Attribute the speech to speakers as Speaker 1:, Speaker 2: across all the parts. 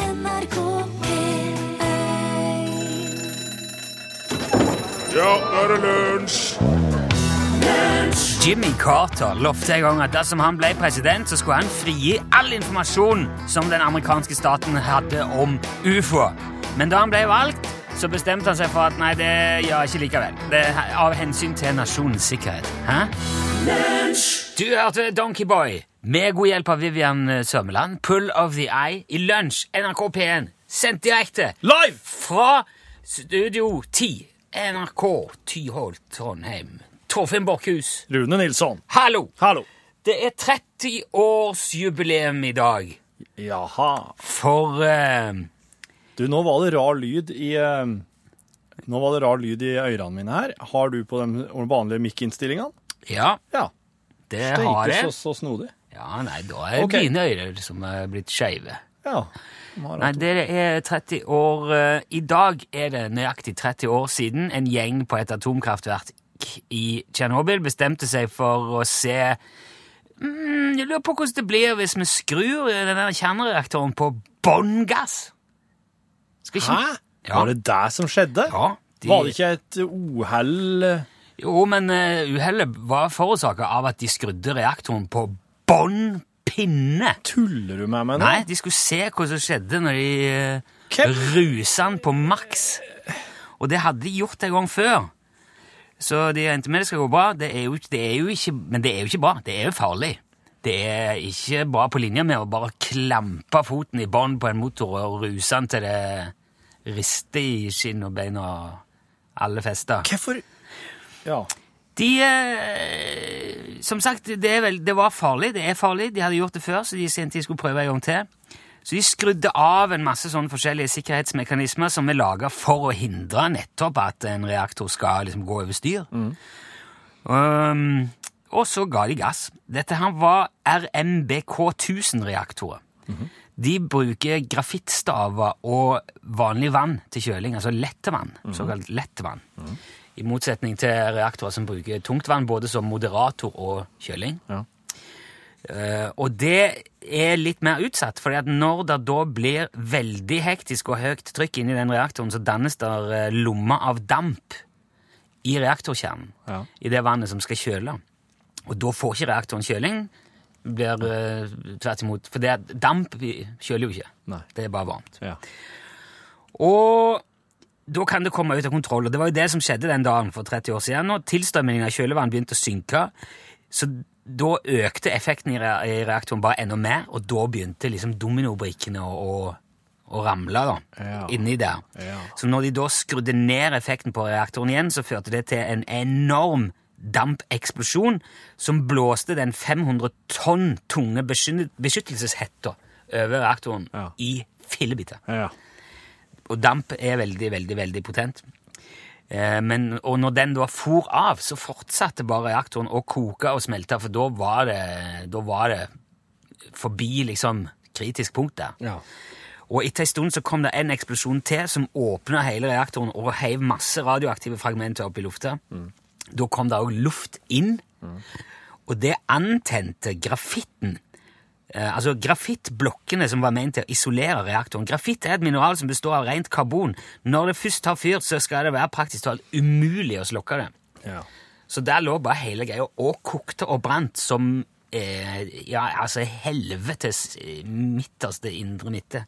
Speaker 1: NRK P1
Speaker 2: Ja, nå er det lunsj!
Speaker 3: Jimmy Carter lovte en gang at dersom han ble president, så skulle han frigi all informasjon som den amerikanske staten hadde om ufoer. Men da han ble valgt, så bestemte han seg for at nei, det gjør jeg ikke likevel. Det er av hensyn til nasjonens sikkerhet. Hæ? Du hørte Donkey Boy med god hjelp av Vivian Sørmeland, Pull of the Eye, i lunsj, NRK P1, sendt direkte
Speaker 4: Live!
Speaker 3: fra Studio 10, NRK Tyholt, Trondheim. Torfinn Borkhus.
Speaker 4: Rune Nilsson.
Speaker 3: Hallo!
Speaker 4: Hallo.
Speaker 3: Det er 30-årsjubileum i dag
Speaker 4: Jaha.
Speaker 3: for eh,
Speaker 4: Du, nå var det rar lyd i eh, Nå var det rar lyd i ørene mine her. Har du på de vanlige mikkinnstillingene?
Speaker 3: Ja,
Speaker 4: Ja.
Speaker 3: det
Speaker 4: Det
Speaker 3: har
Speaker 4: gikk
Speaker 3: jeg.
Speaker 4: jo så, så snodig.
Speaker 3: Ja, nei, da er
Speaker 4: Ok.
Speaker 3: mine ører som er blitt skeive.
Speaker 4: Ja. De har
Speaker 3: Nei,
Speaker 4: hatt-
Speaker 3: det er 30 år eh, I dag er det nøyaktig 30 år siden en gjeng på et atomkraftverk i Tsjernobyl bestemte seg for å se mm, Jeg lurer på hvordan det blir hvis vi skrur den der kjernereaktoren på bånn gass. Skal ikke
Speaker 4: Hæ?
Speaker 3: Ja.
Speaker 4: Var det det som skjedde?
Speaker 3: Ja, de-
Speaker 4: Var det ikke et uhell eh,
Speaker 3: Jo, men eh, uhellet var forårsaka av at de skrudde reaktoren på bånn pinne.
Speaker 4: Tuller du med meg nå?
Speaker 3: Nei, de skulle se hva som skjedde når de
Speaker 4: Hvem?
Speaker 3: uh, rusa den på maks. Og det hadde de gjort en gang før. Så de endte med det skal gå bra. Det er jo, ikke- det er jo ikke, men det er jo ikke bra. Det er jo farlig. Det er ikke bra på linje med å bare klampe foten i bånn på en motor og ruse den til det rister i skinn og bein og alle fester.
Speaker 4: Hvorfor Ja.
Speaker 3: De eh, Som sagt, det, er vel, det var farlig. Det er farlig. De hadde gjort det før, så de sendte de skulle prøve en gang til. Så de skrudde av en masse sånne forskjellige sikkerhetsmekanismer som er laga for å hindre nettopp at en reaktor skal liksom gå over styr. Um, og så ga de gass. Dette her var RMBK 1000-reaktorer. De bruker grafittstaver og vanlig vann til kjøling, altså lettevann, såkalt lettvann. I motsetning til reaktorer som bruker tungtvann både som moderator og kjøling.
Speaker 4: Ja.
Speaker 3: Eh, og det er litt mer utsatt, fordi at når det da blir veldig hektisk og høyt trykk inni den reaktoren, så dannes der eh, lommer av damp i reaktorkjernen,
Speaker 4: Ja.
Speaker 3: i det vannet som skal kjøle. Og da får ikke reaktoren kjøling, blir eh, tvert imot, for det, er- damp kjøler jo ikke.
Speaker 4: Nei.
Speaker 3: Det er bare varmt.
Speaker 4: ja.
Speaker 3: Og da kan det komme ut av kontroll. Og det var jo det som skjedde den dagen for 30 år siden. Og tilstrømningen av kjølevann begynte å synke. Så da økte effekten i re- i reaktoren bare enda mer, og da begynte liksom dominobrikkene å, å, å ramle da,
Speaker 4: Ja.
Speaker 3: inni der.
Speaker 4: Ja.
Speaker 3: Så når de da skrudde ned effekten på reaktoren igjen, så førte det til en enorm dampeksplosjon som blåste den 500 tonn tunge beskytt- beskyttelseshetta over reaktoren
Speaker 4: Ja.
Speaker 3: i fillebiter.
Speaker 4: ja.
Speaker 3: Og damp er veldig, veldig, veldig potent. Eh, Men, og når den da for av, så fortsatte bare reaktoren å koke og smelte, for da var det, da var det forbi liksom kritisk punkt der.
Speaker 4: ja.
Speaker 3: Og etter en stund så kom det en eksplosjon til som åpna hele reaktoren og heiv masse radioaktive fragmenter opp i lufta. Da kom det òg luft inn, og det antente grafitten. Eh, altså Grafittblokkene som var ment til å isolere reaktoren. Grafitt er et mineral som består av rent karbon. Når det først har fyrt, så skal det være praktisk talt umulig å slokke det.
Speaker 4: ja.
Speaker 3: Så der lå bare hele greia og kokte og brant som eh, ja, altså helvetes eh, midterste indre midte.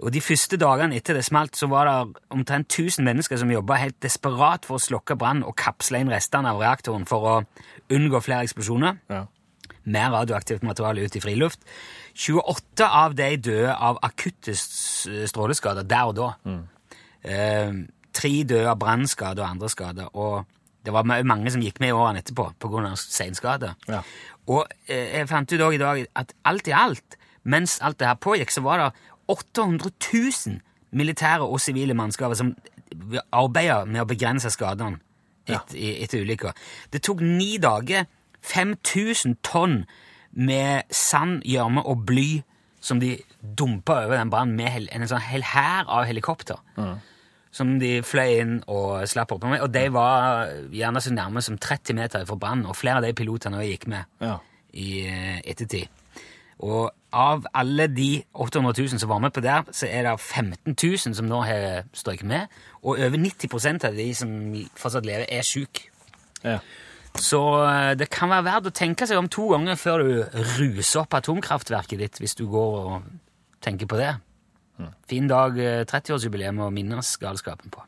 Speaker 3: Og de første dagene etter det smalt, så var det omtrent 1000 mennesker som jobba helt desperat for å slokke brann og kapsle inn restene av reaktoren for å unngå flere eksplosjoner.
Speaker 4: ja.
Speaker 3: Mer radioaktivt materiale ut i friluft. 28 av de døde av akutte s- stråleskader der og da. Eh, tre døde av brannskader og andre skader. Og det var ma- mange som gikk med i årene etterpå pga. senskader.
Speaker 4: Ja.
Speaker 3: Og eh, jeg fant ut også i dag at alt i alt, mens alt det her pågikk, så var det 800 000 militære og sivile mannskaper som arbeider med å begrense skadene et, i- etter ulykka. Det tok ni dager 5000 tonn med sand, gjørme og bly som de dumpa over den brannen med hel, en sånn hel hær av helikopter. Som de fløy inn og slapp opp med. Og de var gjerne så nærme som 30 meter fra brannen, og flere av de pilotene også gikk med
Speaker 4: Ja.
Speaker 3: i eh, ettertid. Og av alle de 800 000 som var med på der, så er det 15 000 som nå har strøket med. Og over 90 av de som fortsatt lever, er syke.
Speaker 4: Ja.
Speaker 3: Så eh, det kan være verdt å tenke seg om to ganger før du ruser opp atomkraftverket ditt, hvis du går og tenker på det. Fin dag, eh, 30-årsjubileum å minnes galskapen på.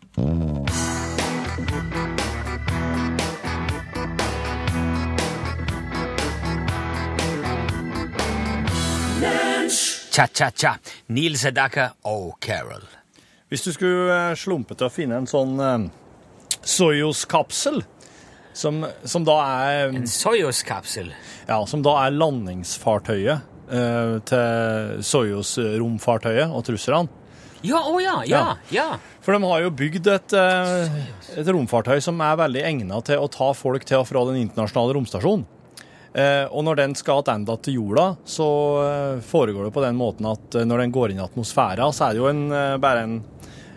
Speaker 3: Cha-cha-cha. Neil Sedaka O'Carroll.
Speaker 4: Hvis du skulle eh, slumpe til å finne en sånn eh, Soyuz-kapsel, som, som da er
Speaker 3: En Soyuz-kapsel.
Speaker 4: Ja, som da er landingsfartøyet eh, til Soyuz-romfartøyet og russerne.
Speaker 3: Ja, å ja, ja, ja.
Speaker 4: For de har jo bygd et, eh, et romfartøy som er veldig egnet til å ta folk til og fra den internasjonale romstasjonen. Eh, Og når den skal tilbake til jorda, så eh, foregår det på den måten at eh, når den går inn i atmosfæra, så er det jo en, eh, bare en,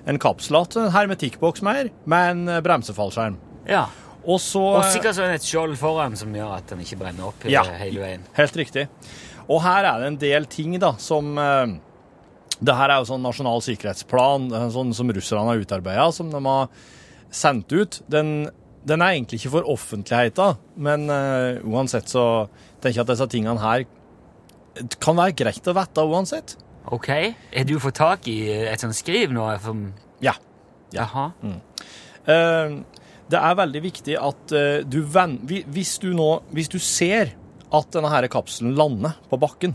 Speaker 4: en kapsel att, en hermetikkboks mer, med en eh, bremsefallskjerm.
Speaker 3: ja.
Speaker 4: Og så
Speaker 3: Og eh, sikkert så er det et skjold foran som gjør at den ikke brenner opp
Speaker 4: Ja.
Speaker 3: hele veien.
Speaker 4: Helt riktig. Og her er det en del ting da, som eh, Det her er jo sånn nasjonal sikkerhetsplan eh, sånn som russerne har utarbeida, som de har sendt ut. Den, den er egentlig ikke for offentligheten, men eh, uansett så tenker jeg at disse tingene her kan være greit å vite uansett.
Speaker 3: Ok, Har du fått tak i eh, et sånt skriv nå? Som,
Speaker 4: Ja. Mm.
Speaker 3: Jaha.
Speaker 4: Eh, det er veldig viktig at eh, du ven- hvi- Hvis du nå Hvis du ser at denne her kapselen lander på bakken,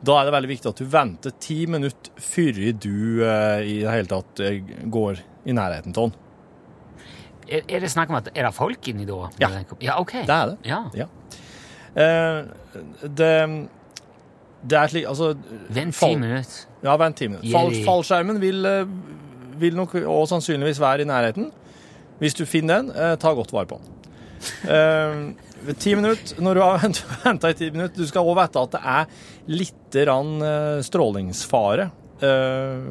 Speaker 4: da er det veldig viktig at du venter ti minutter før du eh, i det hele tatt eh, går i nærheten av den.
Speaker 3: Er, er det snakk om at Er det folk inni da?
Speaker 4: Ja.
Speaker 3: ja ok.
Speaker 4: Det er det.
Speaker 3: Ja.
Speaker 4: Eh, det det er slik Altså,
Speaker 3: Vent ti
Speaker 4: Folk.
Speaker 3: minutter.
Speaker 4: ja, vent ti minutter. Fall,
Speaker 3: Yay.
Speaker 4: fallskjermen vil, eh, vil nok og sannsynligvis være i nærheten. Hvis du finner den, eh, ta godt vare på den. Eh, ved ti minutter, når du har venta i ti minutter, du skal òg vite at det er litt grann, eh, strålingsfare eh,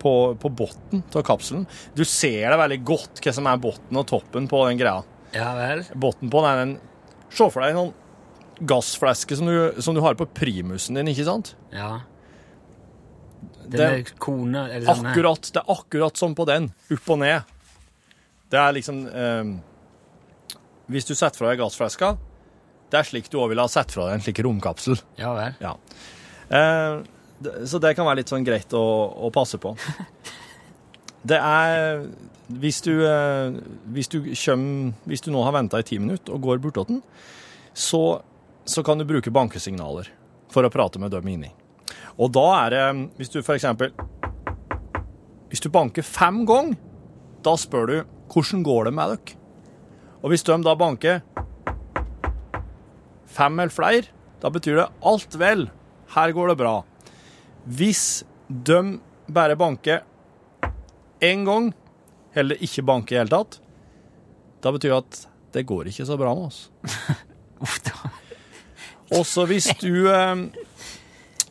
Speaker 4: på, på bunnen av kapselen. Du ser det veldig godt hva som er bunnen og toppen på den greia.
Speaker 3: Ja vel.
Speaker 4: Bunnen på den er en Se for deg en sånn gassflaske som du, som du har på primusen din, ikke sant?
Speaker 3: Ja. Den
Speaker 4: Den-
Speaker 3: er kone eller sånn,
Speaker 4: Akkurat, det er akkurat som på den. Opp og ned. Det er liksom ehm, Hvis du setter fra deg gassflaska, det er slik du òg ville ha sett fra deg en slik romkapsel.
Speaker 3: Ja vel.
Speaker 4: Ja. Eh, det- så det kan være litt sånn greit å, å passe på. Det er Hvis du, eh, hvis du, kjøm, hvis du nå har venta i ti minutter og går bortåt den, så, så kan du bruke bankesignaler for å prate med dem inni. Og da er det Hvis du for eksempel Hvis du banker fem ganger, da spør du 'Hvordan går det med dere?' Og hvis de da banker fem eller flere, da betyr det alt vel. Her går det bra. Hvis de bare banker én gang, eller ikke banker i det hele tatt, da betyr det at det går ikke så bra med oss.
Speaker 3: Uff da.
Speaker 4: Også hvis du eh,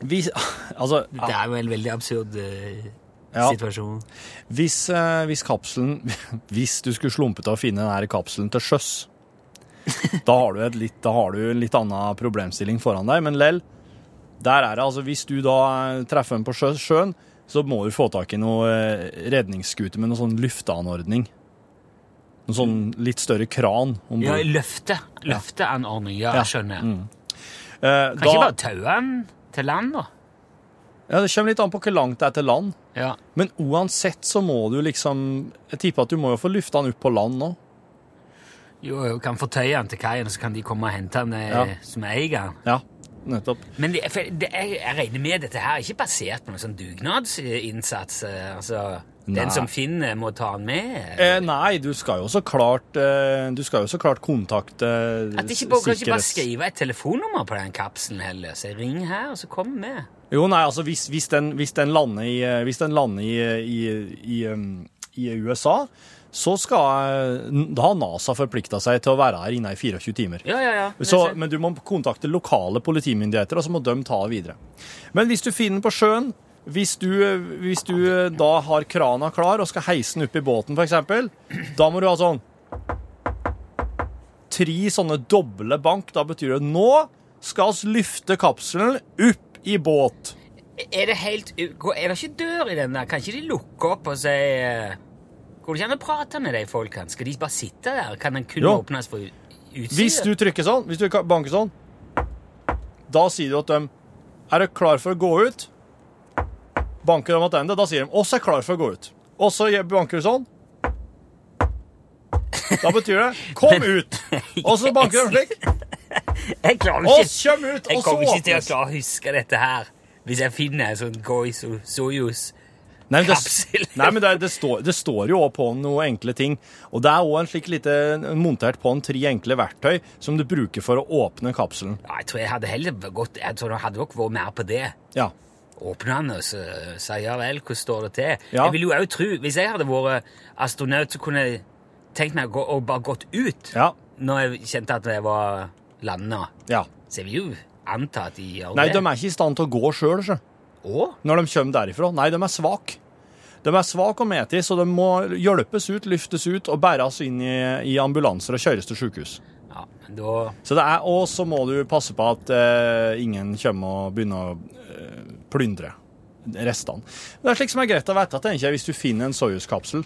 Speaker 4: hvis, Altså,
Speaker 3: Det er jo en veldig absurd eh,
Speaker 4: Ja.
Speaker 3: situasjon.
Speaker 4: hvis, eh, hvis kapselen Hvis du skulle slumpe til å finne denne kapselen til sjøs, da har du, et litt, da har du en litt annen problemstilling foran deg. Men lell, der er det. Altså, hvis du da eh, treffer en på sjø- sjøen, så må du få tak i noe eh, redningsskute med noe sånn lufteanordning. Noe sånn litt større kran om
Speaker 3: Ja,
Speaker 4: bord.
Speaker 3: løfte. Løfteanordning. Ja,
Speaker 4: Ja.
Speaker 3: jeg skjønner.
Speaker 4: Eh,
Speaker 3: Kan ikke
Speaker 4: da-
Speaker 3: bare taue den til land, da?
Speaker 4: ja, det kommer litt an på hvor langt det er til land.
Speaker 3: Ja.
Speaker 4: Men uansett så må du liksom Jeg tipper at du må jo få lufta den opp på land nå.
Speaker 3: Jo, jo, kan fortøye den til kaien, så kan de komme og hente den eh,
Speaker 4: Ja.
Speaker 3: som eier den.
Speaker 4: Ja, nettopp.
Speaker 3: Men det, for det, jeg, jeg regner med dette her er ikke basert på noen sånn dugnadsinnsats. eh, Altså,
Speaker 4: Nei.
Speaker 3: den som finner, må ta den med.
Speaker 4: Eh, nei, du skal jo så klart eh, Du skal jo så klart kontakte eh,
Speaker 3: At de ikke bare, kan ikke bare
Speaker 4: sikkerhets-
Speaker 3: skrive et telefonnummer på den kapselen heller. Så jeg ring her, og så kom med.
Speaker 4: Jo, nei, altså hvis, hvis, den, hvis den lander, i, eh, hvis den lander i, i, i, um, i USA, så skal eh, Da har NASA forplikta seg til å være her inne i 24 timer.
Speaker 3: Ja, ja, ja. Men
Speaker 4: Så,
Speaker 3: så-
Speaker 4: men du må kontakte lokale politimyndigheter, og så må de ta det videre. Men hvis du finner den på sjøen, hvis du, hvis du eh, da har krana klar og skal heise den opp i båten, f.eks., da må du ha sånn Tre sånne doble bank. Da betyr det nå skal oss lyfte kapselen opp i båt.
Speaker 3: Er det helt u- gå- Er det ikke dør i den der? Kan ikke de lukke opp og si eh, Går det ikke an å prate med de folkene? Skal de bare sitte der? Kan den kun
Speaker 4: Jo.
Speaker 3: åpnes for utsiden?
Speaker 4: Hvis du trykker sånn, hvis du ka- banker sånn, da sier du at de er du klar for å gå ut. Banker de tilbake, da sier de oss er klar for å gå ut. Og så je- banker du sånn. Da betyr det 'kom ut'. Og så banker de slik.
Speaker 3: Jeg klarer ikke
Speaker 4: Oss kjem ut,
Speaker 3: Jeg
Speaker 4: og så
Speaker 3: kommer ikke til å
Speaker 4: åpnes.
Speaker 3: klare å huske dette her hvis jeg finner en sånn Goi so Soyuz.
Speaker 4: Nei, men, det,
Speaker 3: Kapsel.
Speaker 4: nei, men det, det, står, det står jo også på noen enkle ting. Og det er òg en slik lite montert på en tre enkle verktøy som du bruker for å åpne kapselen.
Speaker 3: Ja, jeg tror jeg hadde heller gått Jeg tror jeg hadde nok vært mer på det.
Speaker 4: Ja.
Speaker 3: Åpne den og så si ja vel, hvordan står det til?
Speaker 4: Ja.
Speaker 3: Jeg vil jo også tro, Hvis jeg hadde vært astronaut, så kunne jeg tenkt meg å gå, og bare gått ut
Speaker 4: Ja.
Speaker 3: når jeg kjente at jeg var landa.
Speaker 4: ja.
Speaker 3: Så jeg vil jo anta at de gjør
Speaker 4: Nei,
Speaker 3: det.
Speaker 4: de er ikke i stand til å gå sjøl, sjø.
Speaker 3: Å?
Speaker 4: når de kommer derifra. Nei, de er svake. De er svake og meti, så de må hjelpes ut, løftes ut og bæres inn i, i ambulanser og kjøres til sykehus.
Speaker 3: Ja, men da
Speaker 4: Så det er, og så må du passe på at eh, ingen kommer og begynner å eh, plyndre restene. Men det er slik som er greit å vite, tenker jeg, hvis du finner en Soyuz-kapsel.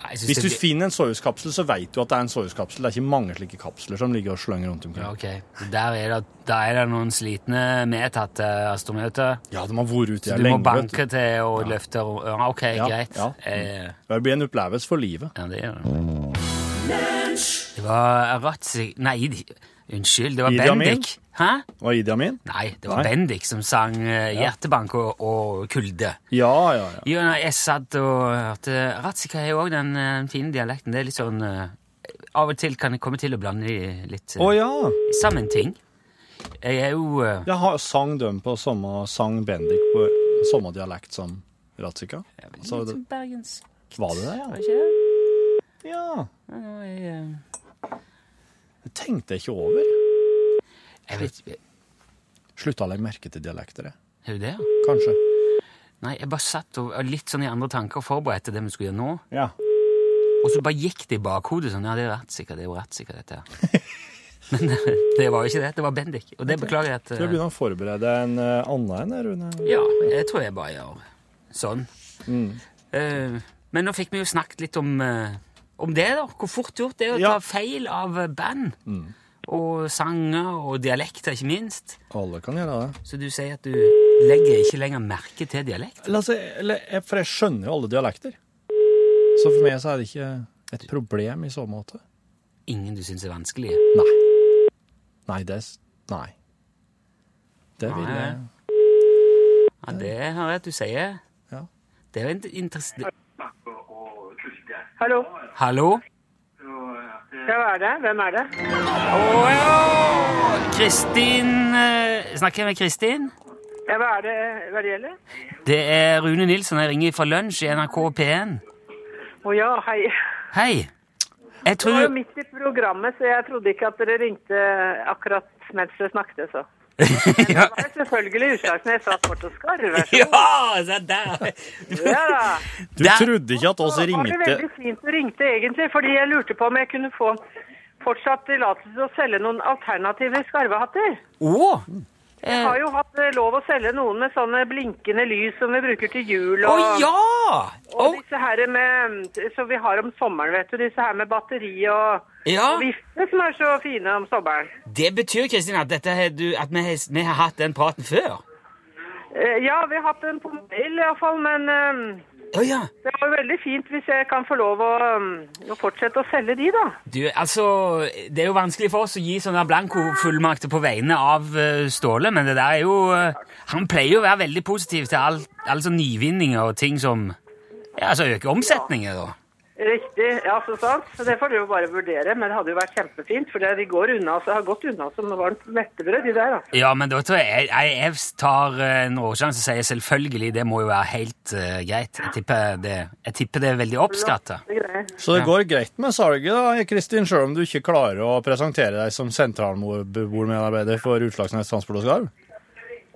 Speaker 3: ja, jeg synes
Speaker 4: Hvis
Speaker 3: det
Speaker 4: du
Speaker 3: blir-
Speaker 4: finner en Soyuz-kapsel, så vet du at det er en Soyuz-kapsel. Det er ikke mange slike kapsler som ligger og slenger rundt
Speaker 3: Ja,
Speaker 4: omkring.
Speaker 3: Ok, Der er det, der er det noen slitne medtatte astronauter.
Speaker 4: Ja, de har vært ute
Speaker 3: Så
Speaker 4: der
Speaker 3: du må
Speaker 4: lenge, vet du.
Speaker 3: banke til og løfte ro- ja, Ok,
Speaker 4: Ja,
Speaker 3: greit.
Speaker 4: ja.
Speaker 3: Eh,
Speaker 4: Det blir en opplevelse for livet.
Speaker 3: ja, det gjør det. Det var Ratzi... Nei, de- unnskyld, det var
Speaker 4: Idi Amin?
Speaker 3: Bendik. Hæ?
Speaker 4: Var Idi Amin?
Speaker 3: Nei, det var
Speaker 4: Nei.
Speaker 3: Bendik som sang eh, Hjertebank og, og Kulde.
Speaker 4: Ja, ja, ja.
Speaker 3: Jo, nei, jeg satt og hørte Ratzika har jo òg den eh, fine dialekten. Det er litt sånn eh, Av og til kan jeg komme til å blande de litt eh,
Speaker 4: Å ja.
Speaker 3: sammen ting. Jeg er jo eh,
Speaker 4: Jeg har sang dem på samme sang Bendik på samme dialekt som Ratzika. Så det,
Speaker 3: litt Bergens...
Speaker 4: var det
Speaker 3: Var
Speaker 4: det, ja?
Speaker 3: det ikke det?
Speaker 4: Ja.
Speaker 3: Ja, nå er jeg... eh,
Speaker 4: Det tenkte jeg ikke over.
Speaker 3: Jeg vet ikke.
Speaker 4: Slutta å legge merke til dialekter, jeg.
Speaker 3: Er det det? ja?
Speaker 4: Kanskje.
Speaker 3: Nei, jeg bare satt og, og litt sånn i andre tanker og forberedte det vi skulle gjøre nå.
Speaker 4: Ja.
Speaker 3: Og så bare gikk det i bakhodet sånn. Ja, det er jo rett sikkert, det er jo rett sikkert dette her. Men eh, det var jo ikke det. Det var Bendik. Og det beklager jeg at
Speaker 4: Skal jeg
Speaker 3: eh,
Speaker 4: begynne å forberede en eh, annen en, Rune?
Speaker 3: Ja, jeg tror jeg bare gjør sånn.
Speaker 4: Mm.
Speaker 3: Eh, men nå fikk vi jo snakket litt om, eh, om det, da. Hvor fort gjort det er å
Speaker 4: Ja. Mm.
Speaker 3: ta feil av eh, band. Og sanger og dialekter, ikke minst.
Speaker 4: Alle kan gjøre det.
Speaker 3: Så du sier at du legger ikke lenger merke til dialekt.
Speaker 4: La oss si- eller, jeg- for jeg skjønner jo alle dialekter. Så for meg så er det ikke et problem i så måte.
Speaker 3: Ingen du syns er vanskelig.
Speaker 4: Nei. Nei, det s- Nei. Det vil
Speaker 3: Nei.
Speaker 4: jeg
Speaker 3: Ja, det hører jeg at du sier.
Speaker 4: Ja.
Speaker 3: Det er jo int- interessant
Speaker 1: Hallo.
Speaker 3: Hallo?
Speaker 1: Ja, hva er det? Hvem er det?
Speaker 3: Å ja! Kristin eh, Snakker jeg med Kristin?
Speaker 1: Ja, hva er det eh, hva det gjelder?
Speaker 3: Det er Rune Nilsson. Jeg ringer fra lunsj i NRK P1.
Speaker 1: Å ja, hei.
Speaker 3: Hei. Jeg
Speaker 1: Det var jo
Speaker 3: tror
Speaker 1: midt i programmet, så jeg trodde ikke at dere ringte akkurat mens dere snakket, så.
Speaker 3: ja.
Speaker 1: Det var selvfølgelig Utslagsnes jeg satt bort og skarver.
Speaker 3: ja! Se der!
Speaker 1: Ja da.
Speaker 4: Du
Speaker 3: Der-
Speaker 4: trodde ikke at oss
Speaker 1: Det var det
Speaker 4: ringte
Speaker 1: veldig fint du ringte, egentlig, fordi jeg lurte på om jeg kunne få fortsatt tillatelse til å selge noen alternative skarvehatter.
Speaker 3: Å! Eh,
Speaker 1: Jeg har jo hatt eh, lov å selge noen med sånne blinkende lys som vi bruker til jul
Speaker 3: Å
Speaker 1: og
Speaker 3: ja!
Speaker 1: Og
Speaker 3: Å,
Speaker 1: disse her med, som vi har om sommeren, vet du, disse her med batteri og,
Speaker 3: Ja.
Speaker 1: og vifte som er så fine om sommeren.
Speaker 3: det betyr Kristin, at, dette har du, at vi, har, vi har hatt den praten før?
Speaker 1: Eh, ja, vi har hatt en på mail iallfall, men eh,
Speaker 3: Å ja.
Speaker 1: det var jo veldig fint hvis jeg kan få lov å, eh, å fortsette å selge de, da.
Speaker 3: Du, altså, Det er jo vanskelig for oss å gi sånne blankofullmakter på vegne av eh, Ståle, men det der er jo eh, Han pleier jo å være veldig positiv til all, all sånn nyvinninger og ting som ja, altså øker omsetningen. da.
Speaker 1: Riktig, ja, så sant. Så det får du jo bare vurdere, men det hadde jo vært kjempefint, for det- de går unna, så har gått unna som varmt mettebrød, de der, da.
Speaker 3: Ja, men da tror jeg jeg, jeg tar eh, en råsjanse og sier selvfølgelig, det må jo være helt eh, greit. Jeg tipper, det, jeg tipper det er veldig oppskatta.
Speaker 1: Det er greier.
Speaker 4: Så det går greit med salget, da, Kristin, sjøl om du ikke klarer å presentere deg som sentralbordmedarbeider for Utslagsnes Transport og Skarv?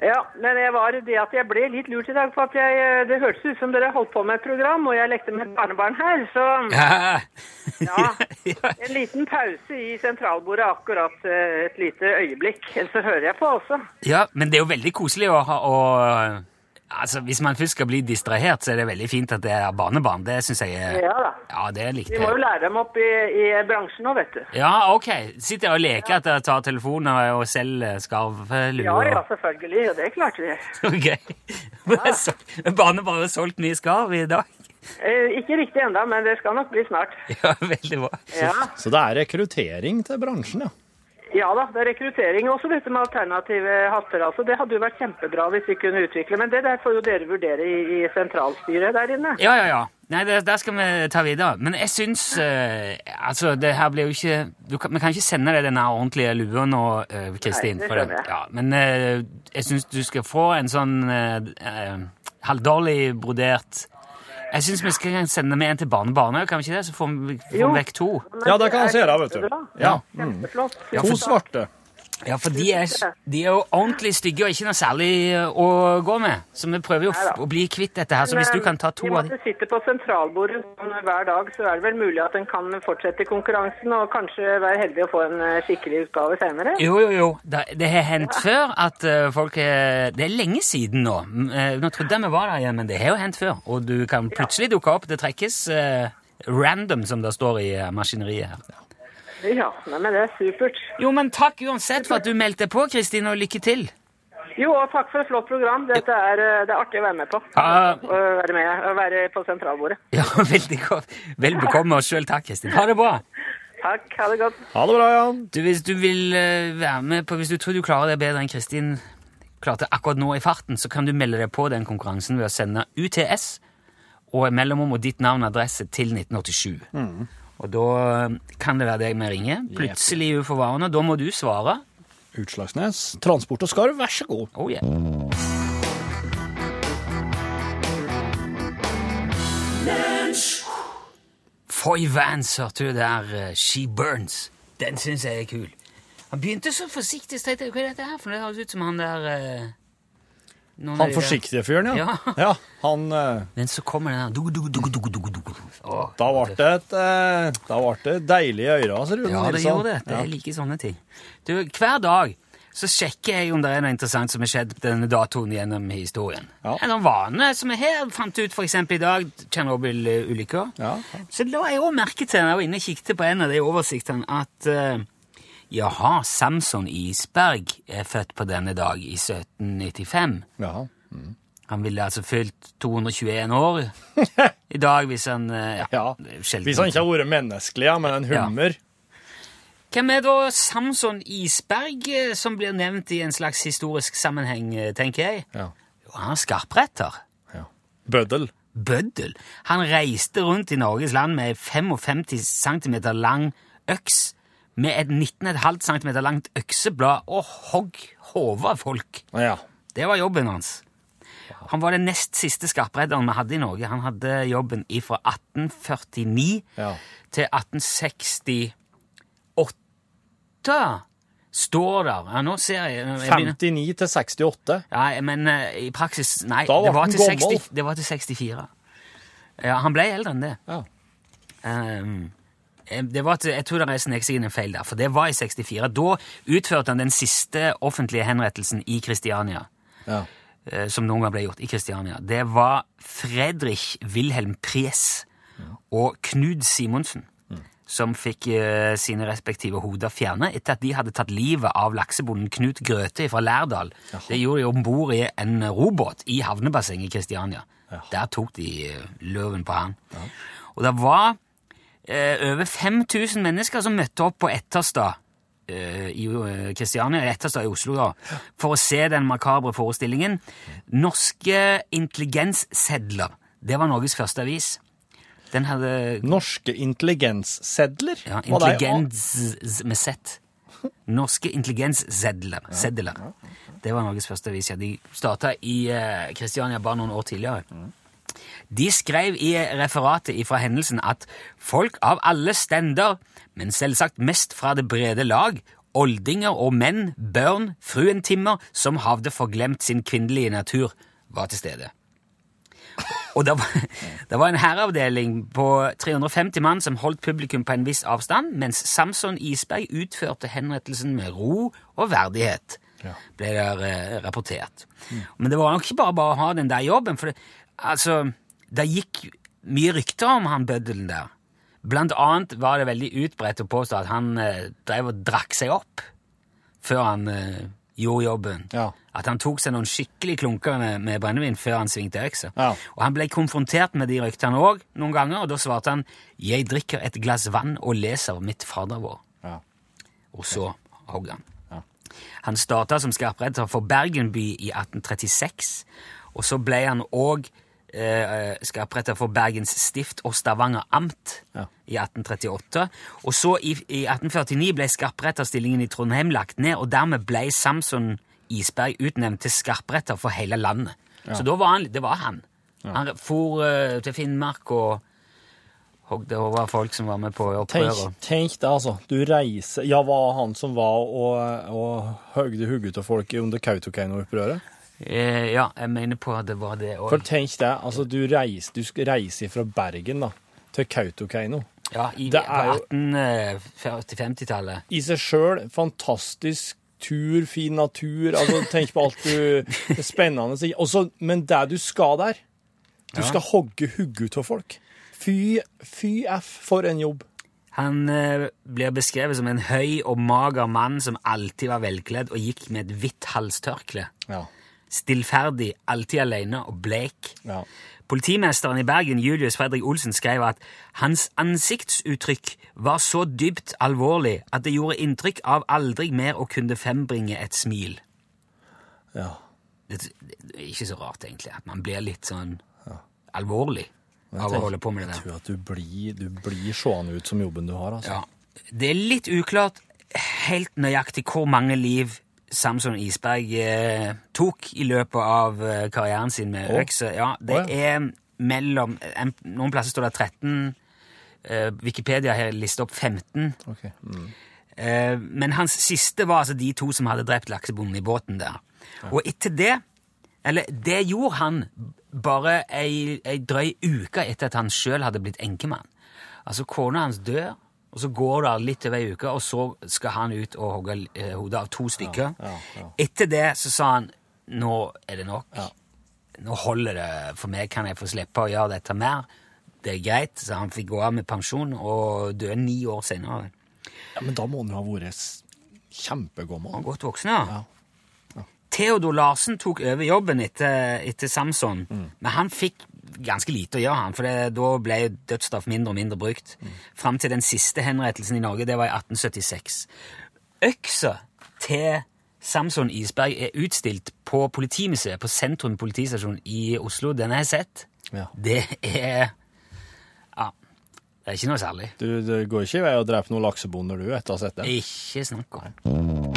Speaker 1: Ja, men jeg var det at jeg ble litt lurt i dag, for at jeg, eh, det hørtes ut som dere holdt på med et program, og jeg lekte med et barnebarn her, så
Speaker 3: Ja.
Speaker 1: ja. En liten pause i sentralbordet akkurat eh, et lite øyeblikk, så hører jeg på også.
Speaker 3: Ja, men det er jo veldig koselig å ha å, Altså, Hvis man først skal bli distrahert, så er det veldig fint at det er barnebarn. Det syns jeg er
Speaker 1: Ja da.
Speaker 3: Ja, det likte
Speaker 1: Vi må jo
Speaker 3: jeg.
Speaker 1: lære dem opp i, i bransjen nå, vet du.
Speaker 3: Ja, ok. Sitter jeg og leker at jeg tar telefoner og selger skarvelue?
Speaker 1: Ja, ja, selvfølgelig, og det klarte vi.
Speaker 3: Ok. Barnebarn har solgt mye skarv i dag.
Speaker 1: Eh, Ikke riktig enda, men det skal nok bli snart.
Speaker 3: Ja, veldig bra.
Speaker 1: Ja,
Speaker 4: Så det er rekruttering til bransjen, ja.
Speaker 1: ja da, det er rekruttering. Også dette med alternative hatter. altså. Det hadde jo vært kjempebra hvis vi kunne utvikle, men det der får jo dere vurdere i, i sentralstyret der inne.
Speaker 3: Ja, ja, ja. Nei, det, der skal vi ta videre. Men jeg syns eh, Altså, det her blir jo ikke du kan, Vi kan ikke sende deg den her ordentlige lua nå, eh, Kristin.
Speaker 1: Nei, det
Speaker 3: for det-
Speaker 1: skjønner jeg.
Speaker 3: Ja, men eh, jeg syns du skal få en sånn eh, eh, halvdårlig brodert Jeg syns vi skal sende med en til barnebarnet, kan vi ikke det? Så får vi, får
Speaker 1: Jo.
Speaker 3: vi vekk to.
Speaker 1: Men
Speaker 4: Ja, det kan
Speaker 1: er
Speaker 4: vi gjøre, vet du.
Speaker 1: kjempebra.
Speaker 4: Ja.
Speaker 1: Kjempeflott.
Speaker 4: To
Speaker 1: Tusen takk.
Speaker 4: svarte.
Speaker 3: Ja, for de er, de er jo ordentlig stygge og ikke noe særlig eh, å gå med. Så vi prøver jo å f-
Speaker 1: Neida.
Speaker 3: å bli kvitt dette her. Så hvis du kan ta to
Speaker 1: I og
Speaker 3: av
Speaker 1: med
Speaker 3: de
Speaker 1: at det sitter på sentralbordet sånn hver dag, så er det vel mulig at en kan fortsette konkurransen og kanskje være heldig å få en eh, skikkelig utgave senere?
Speaker 3: Jo, jo, jo. Da- Det har hendt før at eh, folk eh, Det er lenge siden nå. Mm, eh, Nå trodde jeg vi var der igjen, men det har jo hendt før. Og du kan plutselig dukke opp. Det trekkes eh, random, som det står i eh, maskineriet her.
Speaker 1: Ja, nei, men det er supert.
Speaker 3: Jo, men takk uansett for at du meldte på, Kristin, og lykke til.
Speaker 1: Jo, og takk for et flott program. Dette er, eh, det er artig å være med på.
Speaker 3: Ja.
Speaker 1: Å være med, å være på sentralbordet.
Speaker 3: Ja, veldig godt. Vel bekomme, og sjøl takk, Kristin. Ha det bra.
Speaker 1: Takk, ha det godt.
Speaker 4: Ha det bra, Jan.
Speaker 3: Du, hvis du vil eh, være med på Hvis du tror du klarer det bedre enn Kristin klarte akkurat nå i farten, så kan du melde deg på den konkurransen ved å sende UTS og mellomrom og ditt navn og adresse til 1987. Og da eh, kan det være deg vi ringer. Plutselig uforvarende. Da må du svare.
Speaker 4: Utslagsnes. Transport og skarv, vær så god.
Speaker 3: Oh, yeah. Foy Vance, hørte du der, eh, She Burns. Den syns jeg er kul. Han begynte så forsiktig, så tenkte jeg, hva er dette her for noe? Det høres ut som han der eh, noen av
Speaker 4: Han
Speaker 3: de der-
Speaker 4: forsiktige fyren, ja.
Speaker 3: Ja.
Speaker 4: Ja, han... eh,
Speaker 3: Men så kommer den der dugu, dugu, dugu, dugu, dugu, dugu. Åh,
Speaker 4: Da ble det et eh, Da ble det deilige ører, ser det ut
Speaker 3: Ja,
Speaker 4: som,
Speaker 3: det
Speaker 4: Nilsson.
Speaker 3: gjorde det. Det er like sånne ting. Du, hver dag så sjekker jeg om det er noe interessant som har skjedd denne datoen gjennom historien.
Speaker 4: Ja.
Speaker 3: En sånn vane som jeg her fant ut for eksempel i dag, Tsjernobyl-ulykka.
Speaker 4: Ja.
Speaker 3: Så la jeg òg merke til, når jeg var inne og kikket på en av de oversiktene, at eh, jaha, Samson Isberg er født på denne dag i 1795.
Speaker 4: Ja. ja.
Speaker 3: Han ville altså fylt 221 år i dag hvis han eh,
Speaker 4: ja.
Speaker 3: det er jo sjelden-
Speaker 4: Hvis han ikke har vært menneskelig, ja, men en
Speaker 3: Ja.
Speaker 4: hummer
Speaker 3: Hvem er da Samson Isberg eh, som blir nevnt i en slags historisk sammenheng, eh, tenker jeg?
Speaker 4: ja.
Speaker 3: Jo, han er skarpretter.
Speaker 4: ja. Bøddel.
Speaker 3: Bøddel. Han reiste rundt i Norges land med ei 55 cm lang øks med et 19,5 cm langt økseblad og hogg hodet av folk.
Speaker 4: Ja.
Speaker 3: Det var jobben hans. Han var den nest siste skarpredderen vi hadde i Norge. Han hadde jobben fra 1849
Speaker 4: Ja.
Speaker 3: til 1868, står der. Ja, nå ser jeg, jeg begynner-
Speaker 4: 59 til 68.
Speaker 3: Nei, men eh, i praksis Nei,
Speaker 4: Da var
Speaker 3: det, var
Speaker 4: han
Speaker 3: til
Speaker 4: gammel.
Speaker 3: 60, det var til 64. Ja, han ble eldre enn det.
Speaker 4: Ja.
Speaker 3: Ehm, eh, det var til, jeg tror det reiste seg inn en feil der, for det var i 64. Da utførte han den siste offentlige henrettelsen i Kristiania.
Speaker 4: Ja.
Speaker 3: eh, Som noen gang ble gjort i Kristiania. Det var Fredrik Wilhelm Pries og Knud Simonsen som fikk eh, sine respektive hoder fjernet etter at de hadde tatt livet av laksebonden Knut Grøthe fra Lærdal. Det gjorde de om bord i en robåt i havnebassenget i Kristiania. Der tok de eh, løven på han. Og det var eh, over 5000 mennesker som møtte opp på Etterstad eh, i eh, Kristiania, eller Etterstad i Oslo, da, for å se den makabre forestillingen. Norske intelligenssedler. Det var Norges første avis. Den hadde
Speaker 4: Norske intelligenssedler.
Speaker 3: ja,
Speaker 4: Var de-
Speaker 3: intelligens med Z. Norske intelligenssedler. Sedler. Det var Norges første avis. Ja. De starta i eh, Kristiania bare noen år tidligere. De skrev i referatet fra hendelsen at folk av alle stender, men selvsagt mest fra det brede lag, oldinger og menn, børn, fruentimmer, som havde forglemt sin kvinnelige natur, var til stede. Og det var, det var en herreavdeling på 350 mann som holdt publikum på en viss avstand, mens Samson Isberg utførte henrettelsen med ro og verdighet, ble det eh, rapportert. Men det var nok ikke bare bare å ha den der jobben, for det, altså, det gikk mye rykter om han bøddelen der. Blant annet var det veldig utbredt å påstå at han eh, drev og drakk seg opp før han eh, gjorde jobben.
Speaker 4: Ja.
Speaker 3: At han tok seg noen skikkelig klunker med, med brennevin før han svingte øksa.
Speaker 4: Ja.
Speaker 3: Og han ble konfrontert med de ryktene òg noen ganger, og da svarte han 'Jeg drikker et glass vann og leser mitt Fader vår'.
Speaker 4: Ja.
Speaker 3: Og så hogg han.
Speaker 4: Ja.
Speaker 3: Han starta som skarpredder for Bergen by i 1836, og så ble han òg eh, skarpredder for Bergens stift og Stavanger amt
Speaker 4: Ja.
Speaker 3: i 1838. Og så i, i 1849 ble skarpretterstillingen i Trondheim lagt ned, og dermed ble Samson Isberg utnevnt til skarpretter for hele landet. Så da var han, det var han. Han for eh, til Finnmark og hogde over folk som var med på
Speaker 4: Tenk,
Speaker 3: opprøret.
Speaker 4: tenk det, altså. Du reiser Ja, var han som var og, og høgde hodet av folk under Kautokeino-opprøret?
Speaker 3: Eh, ja, jeg mener på at det var det òg.
Speaker 4: For tenk det, altså du reiser, du skal reise fra Bergen da, til Kautokeino.
Speaker 3: Ja, i, eh,
Speaker 4: Det er jo-
Speaker 3: på 1840-50-tallet.
Speaker 4: I seg sjøl fantastisk tur, fin natur, altså tenk på alt du det er spennende. sikkert. Også, men det du skal der, du skal hogge hugge ut av folk. Fy, fy f for en jobb.
Speaker 3: Han eh, blir beskrevet som en høy og mager mann som alltid var velkledd og gikk med et hvitt halstørkle.
Speaker 4: Ja.
Speaker 3: Stillferdig, alltid alene og bleik.
Speaker 4: Ja.
Speaker 3: Politimesteren i Bergen, Julius Fredrik Olsen, skrev at hans ansiktsuttrykk var så dypt alvorlig at det gjorde inntrykk av aldri mer å kunne frembringe et smil.
Speaker 4: ja.
Speaker 3: Det, det er ikke så rart, egentlig, at man blir litt sånn alvorlig av å holde på med det der.
Speaker 4: Jeg tror at du blir, du blir seende ut som jobben du har, altså.
Speaker 3: Ja. Det er litt uklart helt nøyaktig hvor mange liv Samson Isberg eh, tok i løpet av eh, karrieren sin med
Speaker 4: Å.
Speaker 3: økse. Ja, det
Speaker 4: Å,
Speaker 3: er mellom en, Noen plasser står det 13. Eh, Wikipedia har listet opp 15.
Speaker 4: Ok. Mm.
Speaker 3: Eh, men hans siste var altså de to som hadde drept laksebonden i båten der. Og etter det Eller det gjorde han bare ei, ei drøy uke etter at han sjøl hadde blitt enkemann. Altså, kona hans dør, og så går det litt over ei uke, og så skal han ut og hogge eh, hodet av to stykker.
Speaker 4: ja, ja.
Speaker 3: Etter det så sa han Nå er det nok. Nå holder det for meg. Kan jeg få slippe å gjøre dette mer? Det er greit. Så han fikk gå av med pensjon og døde ni år senere.
Speaker 4: Ja, men da må han jo ha vært s- kjempegammel.
Speaker 3: Og godt voksne, ja. Theodor Larsen tok over jobben etter, etter Samson, men han fikk ganske lite å gjøre, han, for det, da ble dødsstraff mindre og mindre brukt. Fram til den siste henrettelsen i Norge, det var i 1876. Øksa til Samson Isberg er utstilt på politimuseet på Sentrum politistasjon i Oslo. Den har jeg sett.
Speaker 4: Ja.
Speaker 3: Det er Ja, det er ikke noe særlig.
Speaker 4: Du, det går ikke i vei å drepe noen laksebonder du etter å ha sett det.
Speaker 3: Ikke snakk om.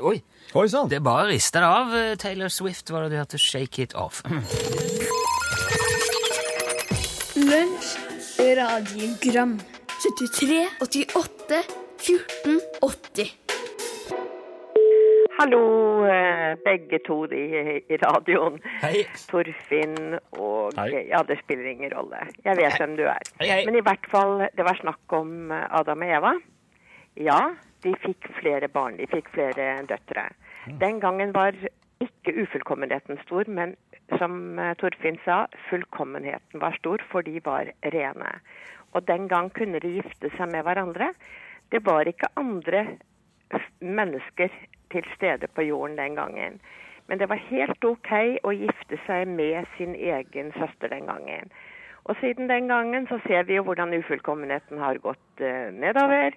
Speaker 3: Oi,
Speaker 4: Oi sann!
Speaker 3: det er bare rista det av. eh, Taylor Swift var det du hørte 'Shake It Off'.
Speaker 2: Lunsj, radiogram 73, 88, 14, 80
Speaker 5: Hallo, eh, begge to i, i radioen.
Speaker 3: Hei.
Speaker 5: Torfinn og
Speaker 4: Hei.
Speaker 5: Ja, det spiller ingen rolle. Jeg vet hvem du er.
Speaker 3: Hei, hei.
Speaker 5: Men i hvert fall, det var snakk om eh, Adam og Eva. Ja, de fikk flere barn. De fikk flere døtre. Den gangen var ikke ufullkommenheten stor, men som eh, Torfinn sa, fullkommenheten var stor, for de var rene. Og den gang kunne de gifte seg med hverandre. Det var ikke andre f- mennesker til stede på jorden den gangen. Men det var helt ok å gifte seg med sin egen søster den gangen. Og siden den gangen så ser vi jo hvordan ufullkommenheten har gått eh, nedover.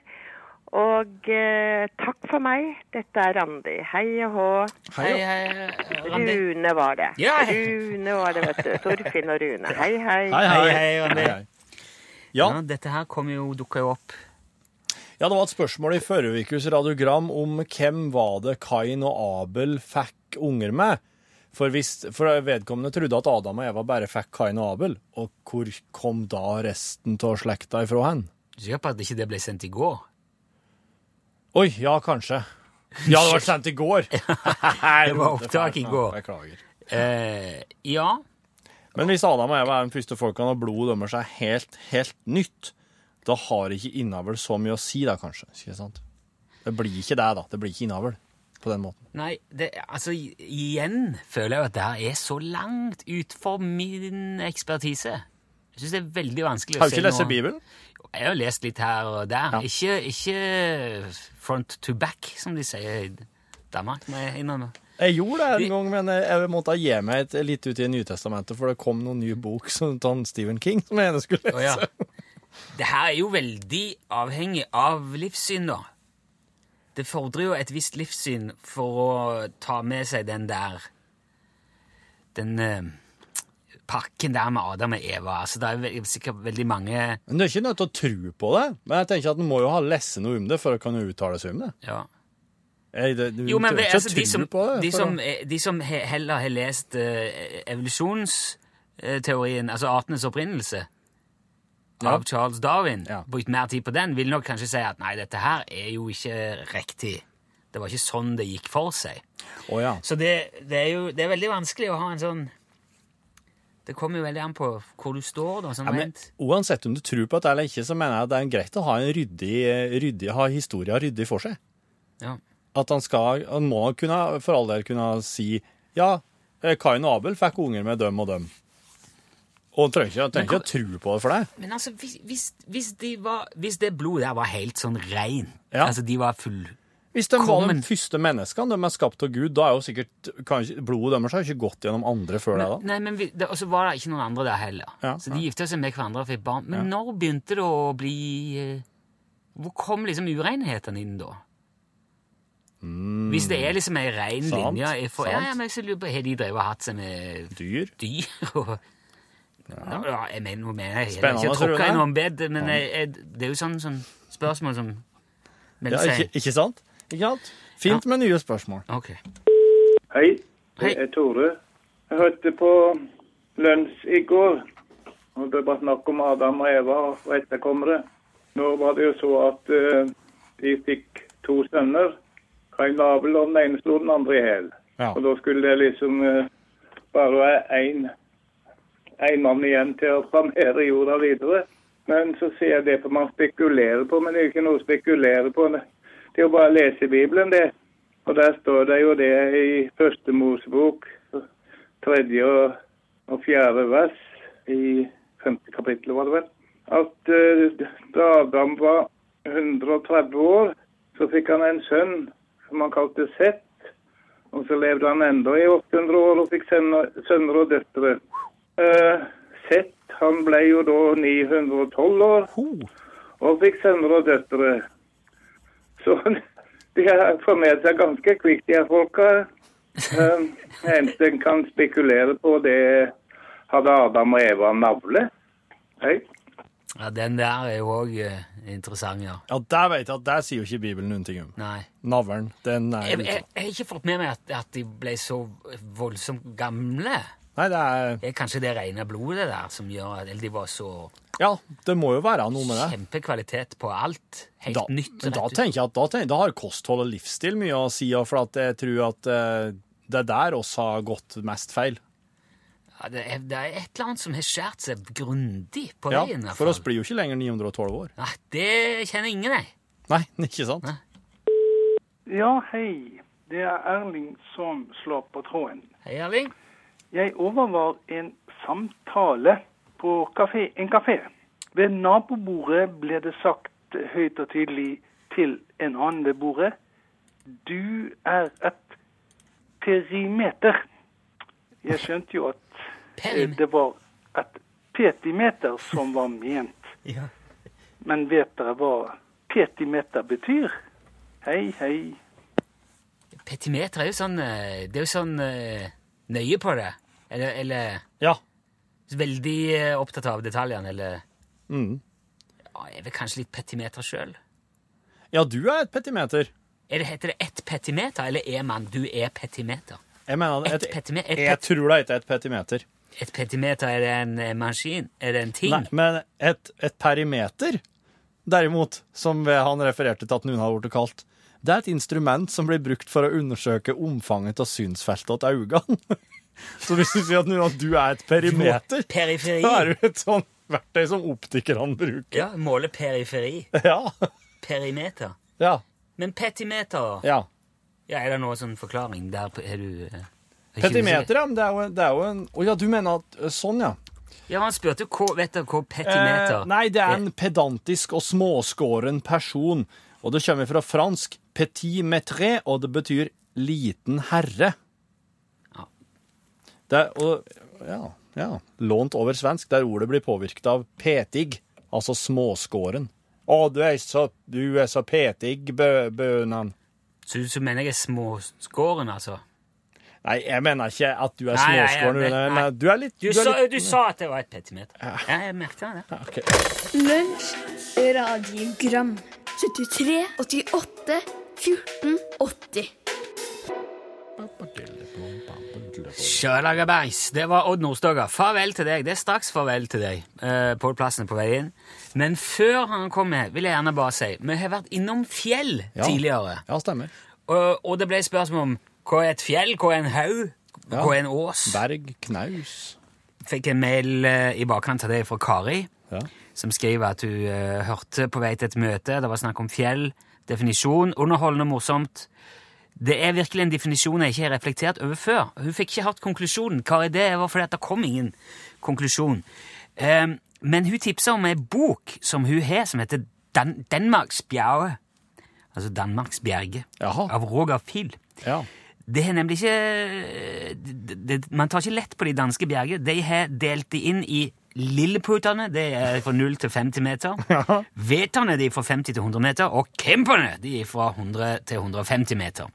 Speaker 5: Og eh, takk for meg. Dette er Randi. Hei og hå.
Speaker 3: Hei, hei, eh, Randi.
Speaker 5: Rune var det.
Speaker 3: Ja.
Speaker 5: Rune var det, vet du. Torfinn og Rune. Hei, hei.
Speaker 3: Hei, hei, Randi.
Speaker 4: Ja,
Speaker 3: Ja, dette her kom jo, dukka jo opp.
Speaker 4: ja, det var et spørsmål i forrige ukes radiogram om hvem var det Kain og Abel fikk unger med. For, hvis, for vedkommende trodde at Adam og Eva bare fikk Kain og Abel, og hvor kom da resten av slekta ifra hen?
Speaker 3: Du er sikker på at ikke det ble sendt i går?
Speaker 4: Oi, ja, kanskje. Ja, det ble sendt i går.
Speaker 3: Nei, det var opptak i
Speaker 4: Ja,
Speaker 3: går.
Speaker 4: Beklager.
Speaker 3: Eh, ja.
Speaker 4: Men hvis Adam og Eva er den første folkene, og blodet dømmer seg helt, helt nytt, da har ikke innavl så mye å si, da, kanskje. Ikke sant? Det blir ikke det, da. Det blir ikke innavl på den måten.
Speaker 3: Nei, det, altså i- igjen føler jeg jo at det her er så langt utfor min ekspertise. Jeg syns det er veldig vanskelig å
Speaker 4: Har du
Speaker 3: se
Speaker 4: ikke lest
Speaker 3: noe-
Speaker 4: Bibelen?
Speaker 3: Jeg har jo lest litt her og der.
Speaker 4: Ja.
Speaker 3: Ikke, ikke front to back, som de sier i Danmark. må jeg innrømme.
Speaker 4: Jeg gjorde det
Speaker 3: Vi-
Speaker 4: en gang, men jeg- jeg måtte gi meg et, litt ut i Nytestamentet, for det kom noen ny bok som av Stephen King som jeg gjerne skulle lese.
Speaker 3: Å ja. Det her er jo veldig avhengig av livssyn, da. Det fordrer jo et visst livssyn for å ta med seg den der Den eh, pakken der med Adam og Eva. Altså, det er vel- sikkert veldig mange
Speaker 4: Men Du er ikke nødt til å tro på det, men jeg tenker at en må jo ha lest noe om det for å kunne uttale seg om det.
Speaker 3: ja.
Speaker 4: Jeg, det du
Speaker 3: Jo, men
Speaker 4: trenger
Speaker 3: det,
Speaker 4: ikke å
Speaker 3: altså, de
Speaker 4: tro
Speaker 3: som,
Speaker 4: på det,
Speaker 3: de
Speaker 4: for
Speaker 3: som,
Speaker 4: å-
Speaker 3: eh, de som he, heller har lest eh, evolusjonsteorien, altså artenes opprinnelse,
Speaker 4: Ja.
Speaker 3: av Charles Darwin,
Speaker 4: Ja.
Speaker 3: brukt mer tid på den, vil nok kanskje si at nei, dette her er jo ikke riktig. Det var ikke sånn det gikk for seg.
Speaker 4: Å ja.
Speaker 3: Så det, det er jo det er veldig vanskelig å ha en sånn Det kommer jo veldig an på hvor du står, da. Sånn
Speaker 4: Ja, men
Speaker 3: rent.
Speaker 4: uansett om du tror på dette eller ikke, så mener jeg at det er greit å ha en ryddig, eh, ryddig ha historia ryddig for seg.
Speaker 3: Ja.
Speaker 4: At han skal, han må kunne, for all del kunne si ja, eh, Kain og Abel fikk unger med dem og dem. Og han trenger ikke, han trenger ikke å tro på det for deg.
Speaker 3: Men altså, hvis, hvis, hvis, de var, hvis det blodet der var helt sånn reint,
Speaker 4: Ja.
Speaker 3: altså de var full
Speaker 4: Hvis de var de
Speaker 3: Kommen.
Speaker 4: første menneskene, de er skapt av Gud, da er jo sikkert kanskje, blodet deres har ikke gått gjennom andre før det, da.
Speaker 3: Nei, men vi, det, Og så var det ikke noen andre der heller.
Speaker 4: Ja,
Speaker 3: så de gifta seg med hverandre og fikk barn. Men når begynte det å bli eh, Hvor kom liksom urenhetene inn da? Hvis det er liksom ei rein
Speaker 4: Mm. Sant,
Speaker 3: linje jeg får- ja,
Speaker 4: sant.
Speaker 3: ja, men jeg så lurer på, Har de drevet og hatt seg med
Speaker 4: Dyr.
Speaker 3: dyr og ja. jeg mener, nå mener jeg heller
Speaker 4: Spennende,
Speaker 3: ikke å
Speaker 4: tror
Speaker 3: tråkke
Speaker 4: du det?
Speaker 3: i noen bed, men jeg, jeg, det er jo sånn, sånn spørsmål som
Speaker 4: Ja,
Speaker 3: melder seg
Speaker 4: ikke, ikke sant? Ikke sant? Fint med nye spørsmål.
Speaker 3: Ok. Hei.
Speaker 6: Hei, det er Tore. Jeg hørte på lunsj i går. Og det var snakk om Adam og Eva og etterkommere. Nå var det jo så at eh, de fikk to sønner. Kain og Abel, og den ene slo den andre i hjel.
Speaker 4: Ja.
Speaker 6: Og da skulle det liksom eh, bare være én en mann igjen til å framere jorda videre. Men så ser jeg det på man spekulerer på, men det er jo ikke noe å spekulere på. Det er jo bare å lese Bibelen, det. Og der står det jo det i første Mosebok, tredje og, og fjerde vers i femte kapittel, var det vel, at eh, da Adam var 130 år, så fikk han en sønn som han kalte Seth. Og så levde han enda i 800 år og fikk sønner, sønner og døtre. Eh, Seth, han ble jo da 912 år
Speaker 4: Ho!
Speaker 6: og fikk sønner og døtre. Så de har formert seg ganske kvikt, de her folka. Eh, Det eneste en kan spekulere på, det hadde Adam og Eva navle. Hei.
Speaker 3: Ja, den der er jo òg interessant, ja.
Speaker 4: Ja, der vet jeg at der sier jo ikke Bibelen noen ting om.
Speaker 3: Nei.
Speaker 4: Navlen, den er
Speaker 3: Jeg,
Speaker 4: jo
Speaker 3: jeg, jeg har ikke fått med meg at, at de ble så voldsomt gamle.
Speaker 4: Nei, det er
Speaker 3: Det er kanskje det rene blodet der som gjør at eller de var så
Speaker 4: Ja, det må jo være noe med det.
Speaker 3: kjempekvalitet på alt. Helt
Speaker 4: Da,
Speaker 3: nytt.
Speaker 4: men da
Speaker 3: rett ut.
Speaker 4: tenker jeg at da, tenker, da har kosthold og livsstil mye å si, og for at jeg tror at eh, det er der oss har gått mest feil.
Speaker 3: ja, det, er, det er et eller annet som har skjært seg grundig på
Speaker 4: Ja,
Speaker 3: veien. i hvert
Speaker 4: for oss
Speaker 3: fall.
Speaker 4: blir jo ikke lenger 912 år.
Speaker 3: Nei, det kjenner ingen, jeg.
Speaker 4: Nei, ikke sant?
Speaker 7: Ja, hei. Det er Erling som slår på tråden.
Speaker 3: Hei, Erling.
Speaker 7: Jeg overvar en samtale på kafé, en kafé. Ved nabobordet ble det sagt høyt og tydelig til en annen ved bordet Du er et perimeter. Jeg skjønte jo at eh,
Speaker 3: Perim.
Speaker 7: det var et petimeter som var ment.
Speaker 3: Ja.
Speaker 7: Men vet dere hva petimeter betyr? Hei, hei.
Speaker 3: Petimeter er jo sånn eh, Det er jo sånn eh, nøye på det. Eller, eller
Speaker 4: Ja.
Speaker 3: veldig eh, opptatt av detaljene, eller
Speaker 4: Mm.
Speaker 3: ja, Jeg er vel kanskje litt petimeter sjøl.
Speaker 4: Ja, du er et petimeter.
Speaker 3: Er det, heter det ett petimeter, eller er man du er petimeter?
Speaker 4: Jeg mener
Speaker 3: Et
Speaker 4: et,
Speaker 3: petimeter- et
Speaker 4: Jeg
Speaker 3: pet-
Speaker 4: tror det heter et petimeter.
Speaker 3: Et petimeter, er det en eh, maskin? Er det en ting?
Speaker 4: Nei, men et, et perimeter, derimot, som ved- han refererte til at noen har blitt kalt, det er et instrument som blir brukt for å undersøke omfanget av synsfeltet til øynene. Så hvis du sier at, noen, at du er et perimeter,
Speaker 3: Periferi.
Speaker 4: da er du et sånn verktøy som optikerne bruker.
Speaker 3: Ja, måle periferi.
Speaker 4: Ja,
Speaker 3: Perimeter.
Speaker 4: ja,
Speaker 3: Men petimeter, da?
Speaker 4: ja.
Speaker 3: Ja, er det noe sånn forklaring? Der er du eh, er ikke du
Speaker 4: Petimeter, ja, men det er jo, det er jo en... Å ja, du mener at... Sånn, ja.
Speaker 3: sikker? Ja, han spurte hva, vet du hva petimeter
Speaker 4: Eh, nei, det er en pedantisk og småskåren person. Og det kommer fra fransk petit maître, og det betyr liten herre.
Speaker 3: Ja.
Speaker 4: Det er, og, ja, ja. Lånt over svensk, der ordet blir påvirket av petig, altså småskåren. Å, du er så, du er så petig, bø, bønan.
Speaker 3: Så, så mener jeg er småskåren, altså?
Speaker 4: Nei, jeg mener ikke at du er
Speaker 3: Nei, nei,
Speaker 4: småskåren.
Speaker 3: nei,
Speaker 4: Rune,
Speaker 3: nei.
Speaker 4: men Du er litt...
Speaker 3: Du,
Speaker 4: er
Speaker 3: sa,
Speaker 4: litt-
Speaker 3: du sa at det var et petimeter. Ja, jeg merket det.
Speaker 4: Ok.
Speaker 2: Lunsj, radiogram 73, 88, 14, 80
Speaker 3: Sjølaga beis. Det var Odd Nordstoga. Farvel til deg. Det er straks farvel til deg. Eh, Pål Plassen er på vei inn. Men før han kommer, vil jeg gjerne bare si Vi har vært innom fjell
Speaker 4: Ja.
Speaker 3: tidligere.
Speaker 4: Ja, stemmer.
Speaker 3: Og, og det ble spørsmål om hva er et fjell, hva er en haug,
Speaker 4: Ja.
Speaker 3: hva er en ås.
Speaker 4: Berg, knaus.
Speaker 3: Fikk en mail eh, i bakkant av det fra Kari,
Speaker 4: Ja.
Speaker 3: som skriver at hun eh, hørte på vei til et møte. Det var snakk om fjell. Definisjon. Underholdende og morsomt. Det er virkelig en definisjon jeg ikke har reflektert over før. Hun fikk ikke hørt konklusjonen. Kari, det var fordi at det kom ingen konklusjon. Ehm, men hun tipsa om ei bok som hun har, som heter Dan Danmarksbjerget. Altså Danmarksbjerget.
Speaker 4: Jaha.
Speaker 3: Av Roger Field.
Speaker 4: Ja.
Speaker 3: Det er nemlig ikke det, det, Man tar ikke lett på de danske bjergene. De har delt de inn i lilleputene, det er fra 0 til 50 meter. Veterne de er fra 50 til 100 meter, og kemperne de er fra 100 til 150 meter.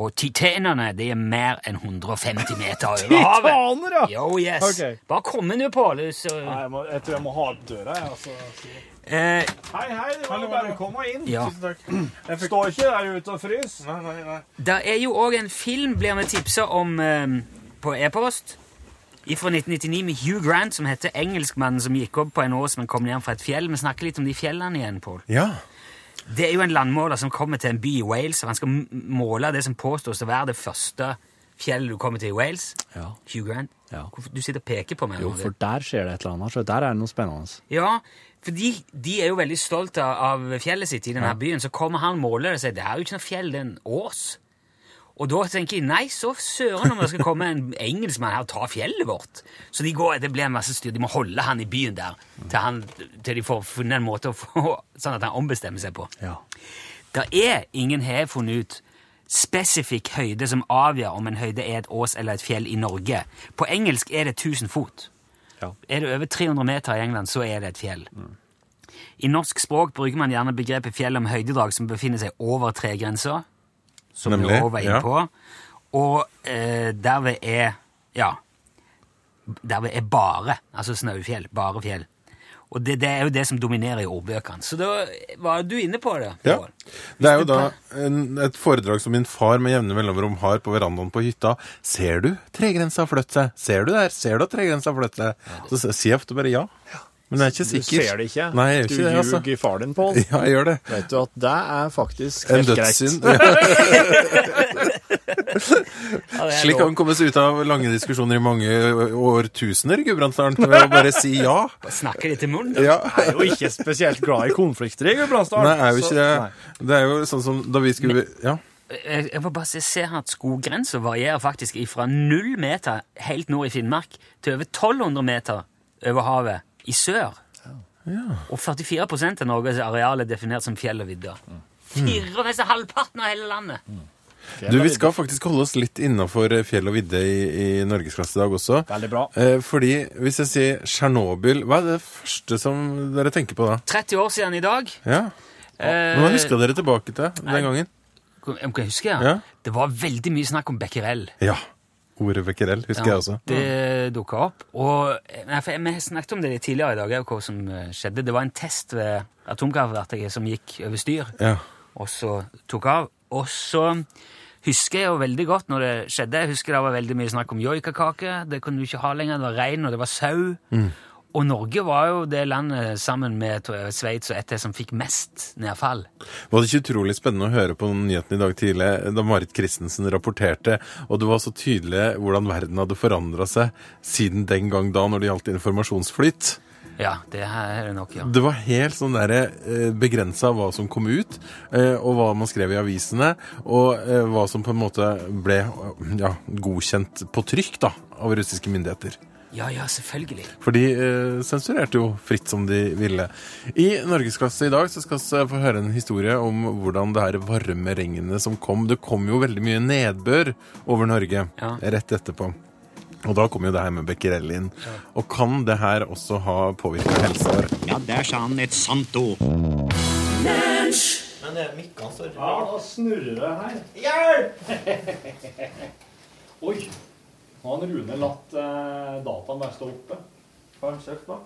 Speaker 3: Og titanene de er mer enn 150 meter over havet.
Speaker 4: Titaner, ja!
Speaker 3: Yo, yes.
Speaker 4: Ok.
Speaker 3: Bare komme nå, Pål. Så...
Speaker 4: Nei, jeg, må, jeg tror jeg må ha opp døra, jeg. Altså.
Speaker 3: Eh,
Speaker 4: Hei, hei, det var bare å komme inn.
Speaker 3: Ja.
Speaker 4: Tusen takk. Jeg står ikke der ute og fryser. Nei, nei, nei.
Speaker 3: Der er jo òg en film, blir vi tipsa om eh, på e-post. Fra 1999 med Hugh Grant, som heter 'Engelskmannen som gikk opp på en ås, men kom ned fra et fjell'. Vi snakker litt om de fjellene igjen, Pål.
Speaker 8: Ja.
Speaker 3: Det er jo en landmåler som kommer til en by i Wales, og han skal m- måle det som påstås å være det første fjellet du kommer til i Wales.
Speaker 4: Ja.
Speaker 3: Hugh Grant,
Speaker 4: Ja.
Speaker 3: hvorfor- du sitter og peker på meg.
Speaker 4: Jo,
Speaker 3: nå.
Speaker 4: for der skjer det et eller annet. Så der er det noe spennende.
Speaker 3: Ja, for de, de er jo veldig stolte av av fjellet sitt i denne byen. Så kommer han måler og sier det er jo ikke noe fjell, det er en ås. Og da tenker jeg nei, så søren om det skal komme en engelskmann her og ta fjellet vårt. Så de går, det blir en masse styr. De må holde han i byen der til, han, til de får funnet en måte å få Sånn at han ombestemmer seg på.
Speaker 4: Ja.
Speaker 3: Det er ingen har funnet ut spesifikk høyde som avgjør om en høyde er et ås eller et fjell i Norge. På engelsk er det 1000 fot.
Speaker 4: Ja.
Speaker 3: Er det over 300 meter i England, så er det et fjell. I norsk språk bruker man gjerne begrepet fjell om høydedrag som befinner seg over tregrensa, som
Speaker 8: Nemlig,
Speaker 3: Nemlig, var inne
Speaker 8: ja.
Speaker 3: på, og eh, derved er ja, derved er bare, altså snaufjell, bare fjell. Og det, det er jo det som dominerer i ordbøkene. Så da var du inne på det.
Speaker 8: Ja.
Speaker 3: Pål.
Speaker 8: Det er jo da en, et foredrag som min far med jevne mellomrom har på verandaen på hytta. Ser du tregrensa flytte seg? Ser du der? Ser du at tregrensa flytter seg? Så s- sier jeg ofte bare ja. Men jeg er ikke
Speaker 4: Du
Speaker 8: sikker.
Speaker 4: ser det ikke.
Speaker 8: Nei, jeg gjør
Speaker 4: du
Speaker 8: ikke det, altså.
Speaker 4: ljuger far din, Pål.
Speaker 8: Ja, jeg gjør det.
Speaker 4: Vet du at det er faktisk
Speaker 8: En
Speaker 4: helt greit.
Speaker 8: dødssynd.
Speaker 3: Ja, det er
Speaker 8: Slik
Speaker 3: lov.
Speaker 8: kan vi komme oss ut av lange diskusjoner i mange ø, årtusener, Gudbrandsdalen, ved å bare si ja.
Speaker 3: Snakker de til munnen?
Speaker 8: Ja.
Speaker 4: Jeg er jo ikke spesielt glad i konflikter i Gudbrandsdalen.
Speaker 8: Nei, er jo
Speaker 4: så-
Speaker 8: ikke det.
Speaker 4: Nei.
Speaker 8: Det er jo sånn som da vi skulle Ja.
Speaker 3: Jeg jeg må bare se, se her at skoggrensa varierer faktisk fra null meter helt nord i Finnmark til over 1200 meter over havet i sør. Og 44 av Norges areal er definert som fjell og vidder. Fire, nesten halvparten av hele landet!
Speaker 8: Du, Vi skal faktisk holde oss litt innafor fjell og vidde i, i norgesklasse i dag også.
Speaker 4: Veldig bra.
Speaker 8: Eh, fordi hvis jeg sier Tsjernobyl, hva er det første som dere tenker på da?
Speaker 3: 30 år siden i dag.
Speaker 8: Ja.
Speaker 3: Eh,
Speaker 8: Hva huska dere tilbake til den gangen?
Speaker 3: Kan kan jeg huske, ja.
Speaker 8: Ja.
Speaker 3: Det var veldig mye snakk om becquerel.
Speaker 8: Ja. Ordet becquerel husker jeg også.
Speaker 3: Det dukka opp. Og nei, for Vi snakket om det litt tidligere i dag, hva som eh, skjedde. Det var en test ved atomkraftverket som gikk over styr.
Speaker 8: Ja.
Speaker 3: og så tok av. Og så husker jeg jo veldig godt når det skjedde. Jeg husker det var veldig mye snakk om joikakake. Det kunne du ikke ha lenger. Det var rein, og det var sau. Og Norge var jo det landet sammen med tror jeg, Sveits og et til som fikk mest nedfall.
Speaker 8: Var det ikke utrolig spennende å høre på nyheten i dag tidlig da Marit Christensen rapporterte, og det var så tydelig hvordan verden hadde forandra seg siden den gang da når det gjaldt informasjonsflyt?
Speaker 3: Ja, det her er det nok, ja.
Speaker 8: Det var helt sånn derre begrensa hva som kom ut, eh, og hva man skrev i avisene, og eh, hva som på en måte ble ja, godkjent på trykk da, av russiske myndigheter.
Speaker 3: Ja, ja, selvfølgelig.
Speaker 8: For de eh, sensurerte jo fritt som de ville. I Norgesklasse i dag så skal vi få høre en historie om hvordan det her varme regnet som kom. Det kom jo veldig mye nedbør over Norge
Speaker 3: Ja.
Speaker 8: rett etterpå. Og da kom jo det her med Becquerel inn. Og kan det her også ha påvirka helsa vår?
Speaker 9: Ja, der sa han et sant ord.
Speaker 4: Men det er mikkene står Ja, da snurrer det her. Hjelp! Oi. Nå har han Rune latt eh, dataen der stå oppe. Hva har han søkt på?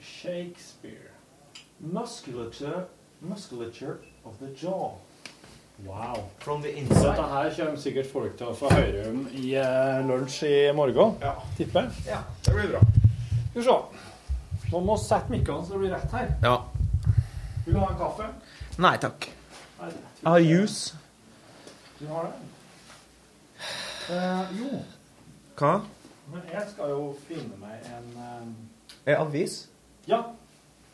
Speaker 4: Shakespeare. Musculature, musculature of the jaw. Wow. From the inside. Dette her kommer sikkert folk til å få høre om i eh, lunsj i morgen, ja. tipper jeg. Ja, det blir bra. Skal vi se. Nå må vi sette mikkene så det blir rett her.
Speaker 10: Ja.
Speaker 4: Vil du ha en kaffe?
Speaker 10: Nei takk.
Speaker 4: Nei, det-
Speaker 10: Jeg har juice.
Speaker 4: Du har det? Eh, jo,
Speaker 10: Hva?
Speaker 4: men jeg skal jo finne meg en eh,
Speaker 10: Er avis?
Speaker 4: Ja,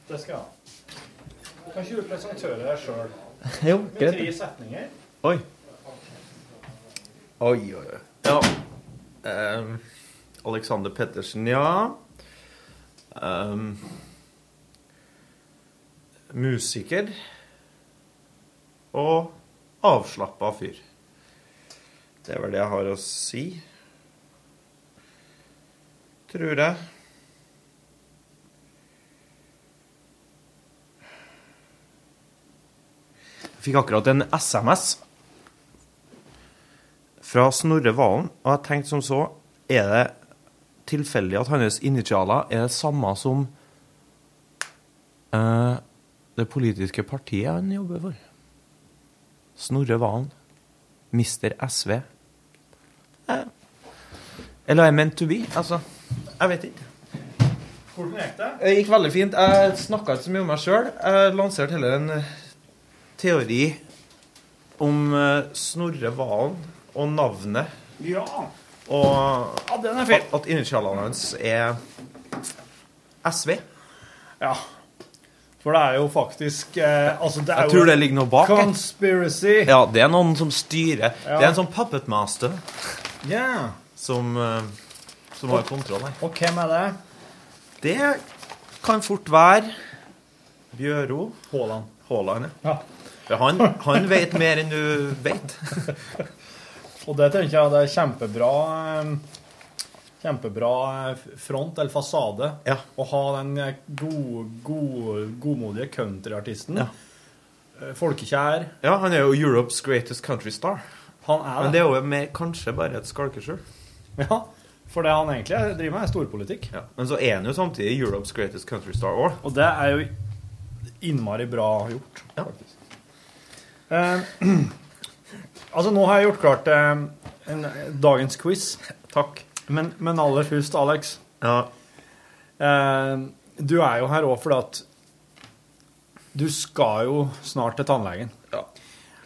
Speaker 4: det skal jeg ha. Kan ikke du presentere deg sjøl
Speaker 10: Jo,
Speaker 4: med
Speaker 10: greit.
Speaker 4: tre setninger?
Speaker 10: Oi. Oi, oi, oi. Ja. Ehm, Alexander Pettersen, ja. Ehm, musiker. Og avslappa fyr. Det er vel det jeg har å si. Tror jeg. Jeg fikk akkurat en SMS fra Snorre Valen, og jeg tenkte som så Er det tilfeldig at hans initialer er det samme som eh, det politiske partiet han jobber for? Snorre Valen. Mister SV. Eh, eller er jeg meant to be? Altså, jeg vet ikke.
Speaker 4: Hvordan gikk det?
Speaker 10: Det gikk veldig fint. Jeg snakka ikke så mye om meg sjøl. Jeg lanserte heller en eh, teori om eh, Snorre Valen og navnet.
Speaker 4: Ja.
Speaker 10: Og
Speaker 4: ja, den er
Speaker 10: at,
Speaker 4: fin.
Speaker 10: at initialene hans er SV.
Speaker 4: Ja. For det er jo faktisk eh, Altså, det er
Speaker 10: Jeg tror
Speaker 4: jo
Speaker 10: det ligger noe bak. jeg.
Speaker 4: Conspiracy. Ja.
Speaker 10: Ja, det er noen som styrer. Det er en sånn puppet master som, eh, som har kontroll her.
Speaker 4: Og hvem er det?
Speaker 10: Det kan fort være Bjøro
Speaker 4: Haaland.
Speaker 10: Haaland.
Speaker 4: Ja.
Speaker 10: ja. For Han, han vet mer enn du vet.
Speaker 4: Og det tenker jeg det er kjempebra eh, Kjempebra eh, front eller fasade
Speaker 10: Ja.
Speaker 4: å ha den eh, god, god, godmodige countryartisten.
Speaker 10: Ja.
Speaker 4: Eh, Folkekjær.
Speaker 10: Ja, han er jo Europe's greatest country star.
Speaker 4: Han er
Speaker 10: Men
Speaker 4: det.
Speaker 10: det er jo mer, kanskje bare et skalkeskjul.
Speaker 4: Ja, for det han egentlig er- driver med, er storpolitikk.
Speaker 10: Ja. Men så er han jo samtidig Europe's greatest country star òg.
Speaker 4: Og det er jo innmari bra gjort.
Speaker 10: Ja.
Speaker 4: Eh, altså, nå har jeg gjort klart eh, en, dagens quiz. Takk. Men, men aller først, Alex.
Speaker 10: Ja.
Speaker 4: Eh, du er jo her òg fordi at du skal jo snart til tannlegen.
Speaker 10: Ja.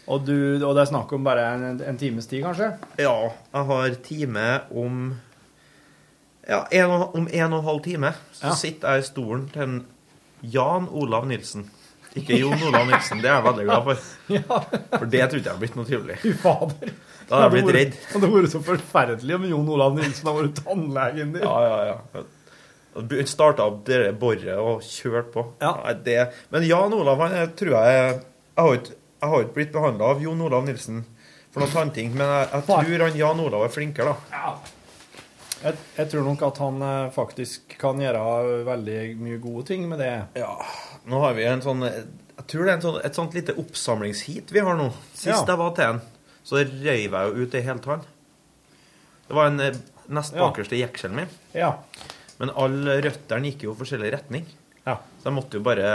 Speaker 4: Og, du, og det er snakk om bare en, en times tid, kanskje?
Speaker 10: ja. Jeg har time om Ja, en og, om en og en halv time så
Speaker 4: Ja.
Speaker 10: sitter jeg i stolen til en Jan Olav Nilsen. Ikke Jon Olav Nilsen, det er jeg veldig glad for.
Speaker 4: Ja,
Speaker 10: For det trodde jeg hadde blitt noe trivelig.
Speaker 4: fy fader.
Speaker 10: Da hadde jeg blitt redd.
Speaker 4: Det hadde vært så forferdelig om Jon Olav Nilsen hadde vært tannlegen din.
Speaker 10: Ja, ja, ja. Starta opp det boret og kjørt på.
Speaker 4: Ja.
Speaker 10: Nei, det. Men Jan Olav, han jeg tror jeg Jeg har jo ikke- jeg har jo ikke blitt behandla av Jon Olav Nilsen for noen tanting, men jeg, jeg
Speaker 4: Nei.
Speaker 10: tror han Jan Olav er flinkere, da.
Speaker 4: Jeg, jeg tror nok at han eh, faktisk kan gjøre veldig mye gode ting med det.
Speaker 10: Ja. Nå har vi en sånn Jeg tror det er en sånn, et sånt lite oppsamlingsheat vi har nå. Sist
Speaker 4: Ja.
Speaker 10: jeg var til en, så røyv jeg jo ut ei hel tann. Det var en eh, nest
Speaker 4: Ja.
Speaker 10: bakerste jekselen min.
Speaker 4: Ja.
Speaker 10: Men alle røttene gikk jo i forskjellig retning.
Speaker 4: Ja.
Speaker 10: Så jeg måtte jo bare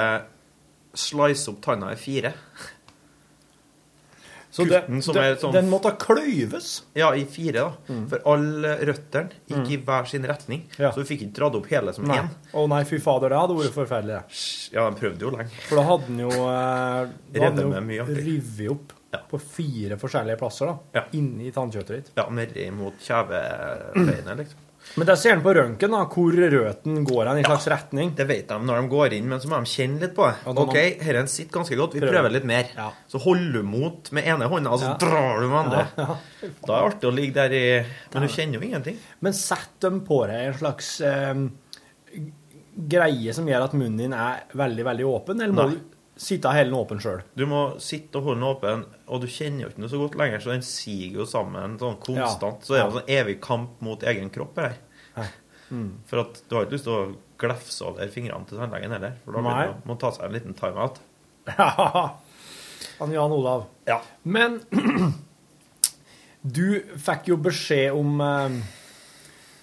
Speaker 10: slice opp tanna i fire. Så det-
Speaker 4: Kutten som
Speaker 10: det-
Speaker 4: er sånn-
Speaker 10: Den måtte kløyves? Ja, i fire, da. For eh, alle røttene gikk i hver sin retning.
Speaker 4: Ja.
Speaker 10: Så du fikk ikke dratt opp hele som
Speaker 4: Nei.
Speaker 10: én.
Speaker 4: Å nei, fy fader, det hadde vært forferdelig.
Speaker 10: Ja, de prøvde jo lenge.
Speaker 4: For da hadde den jo, eh, da hadde
Speaker 10: Revet
Speaker 4: den
Speaker 10: med
Speaker 4: jo
Speaker 10: mye artig.
Speaker 4: revet opp på fire forskjellige plasser da, inni tannkjøttet ditt.
Speaker 10: Ja, nedi mot kjevebeinet, liksom.
Speaker 4: Men der ser den på røntgen da, hvor røten går hen i slags retning.
Speaker 10: Det vet de når de går inn, men så må de kjenne litt på det.
Speaker 4: Ja, da må-
Speaker 10: OK, herren sitter ganske godt, vi
Speaker 4: Prøver.
Speaker 10: prøver litt mer. Så holder du mot med ene hånda, og så
Speaker 4: Ja.
Speaker 10: drar du med andre.
Speaker 4: Ja, ja.
Speaker 10: Da er det artig å ligge der i Men du kjenner jo ingenting.
Speaker 4: Men sett dem på deg en slags eh, greie som gjør at munnen din er veldig, veldig åpen, eller må
Speaker 10: Nei.
Speaker 4: du sitte hele den åpen sjøl?
Speaker 10: Du må sitte og holde den åpen, og du kjenner jo ikke noe så godt lenger, så den siger jo sammen sånn konstant.
Speaker 4: Ja.
Speaker 10: Så det er jo en sånn evig kamp mot egen kropp her. For at du har ikke lyst til å glefse over fingrene til tannlegen heller. For da
Speaker 4: Nei.
Speaker 10: blir det- må man ta seg en liten timeout.
Speaker 4: Han Jan Olav. Men du fikk jo beskjed om eh,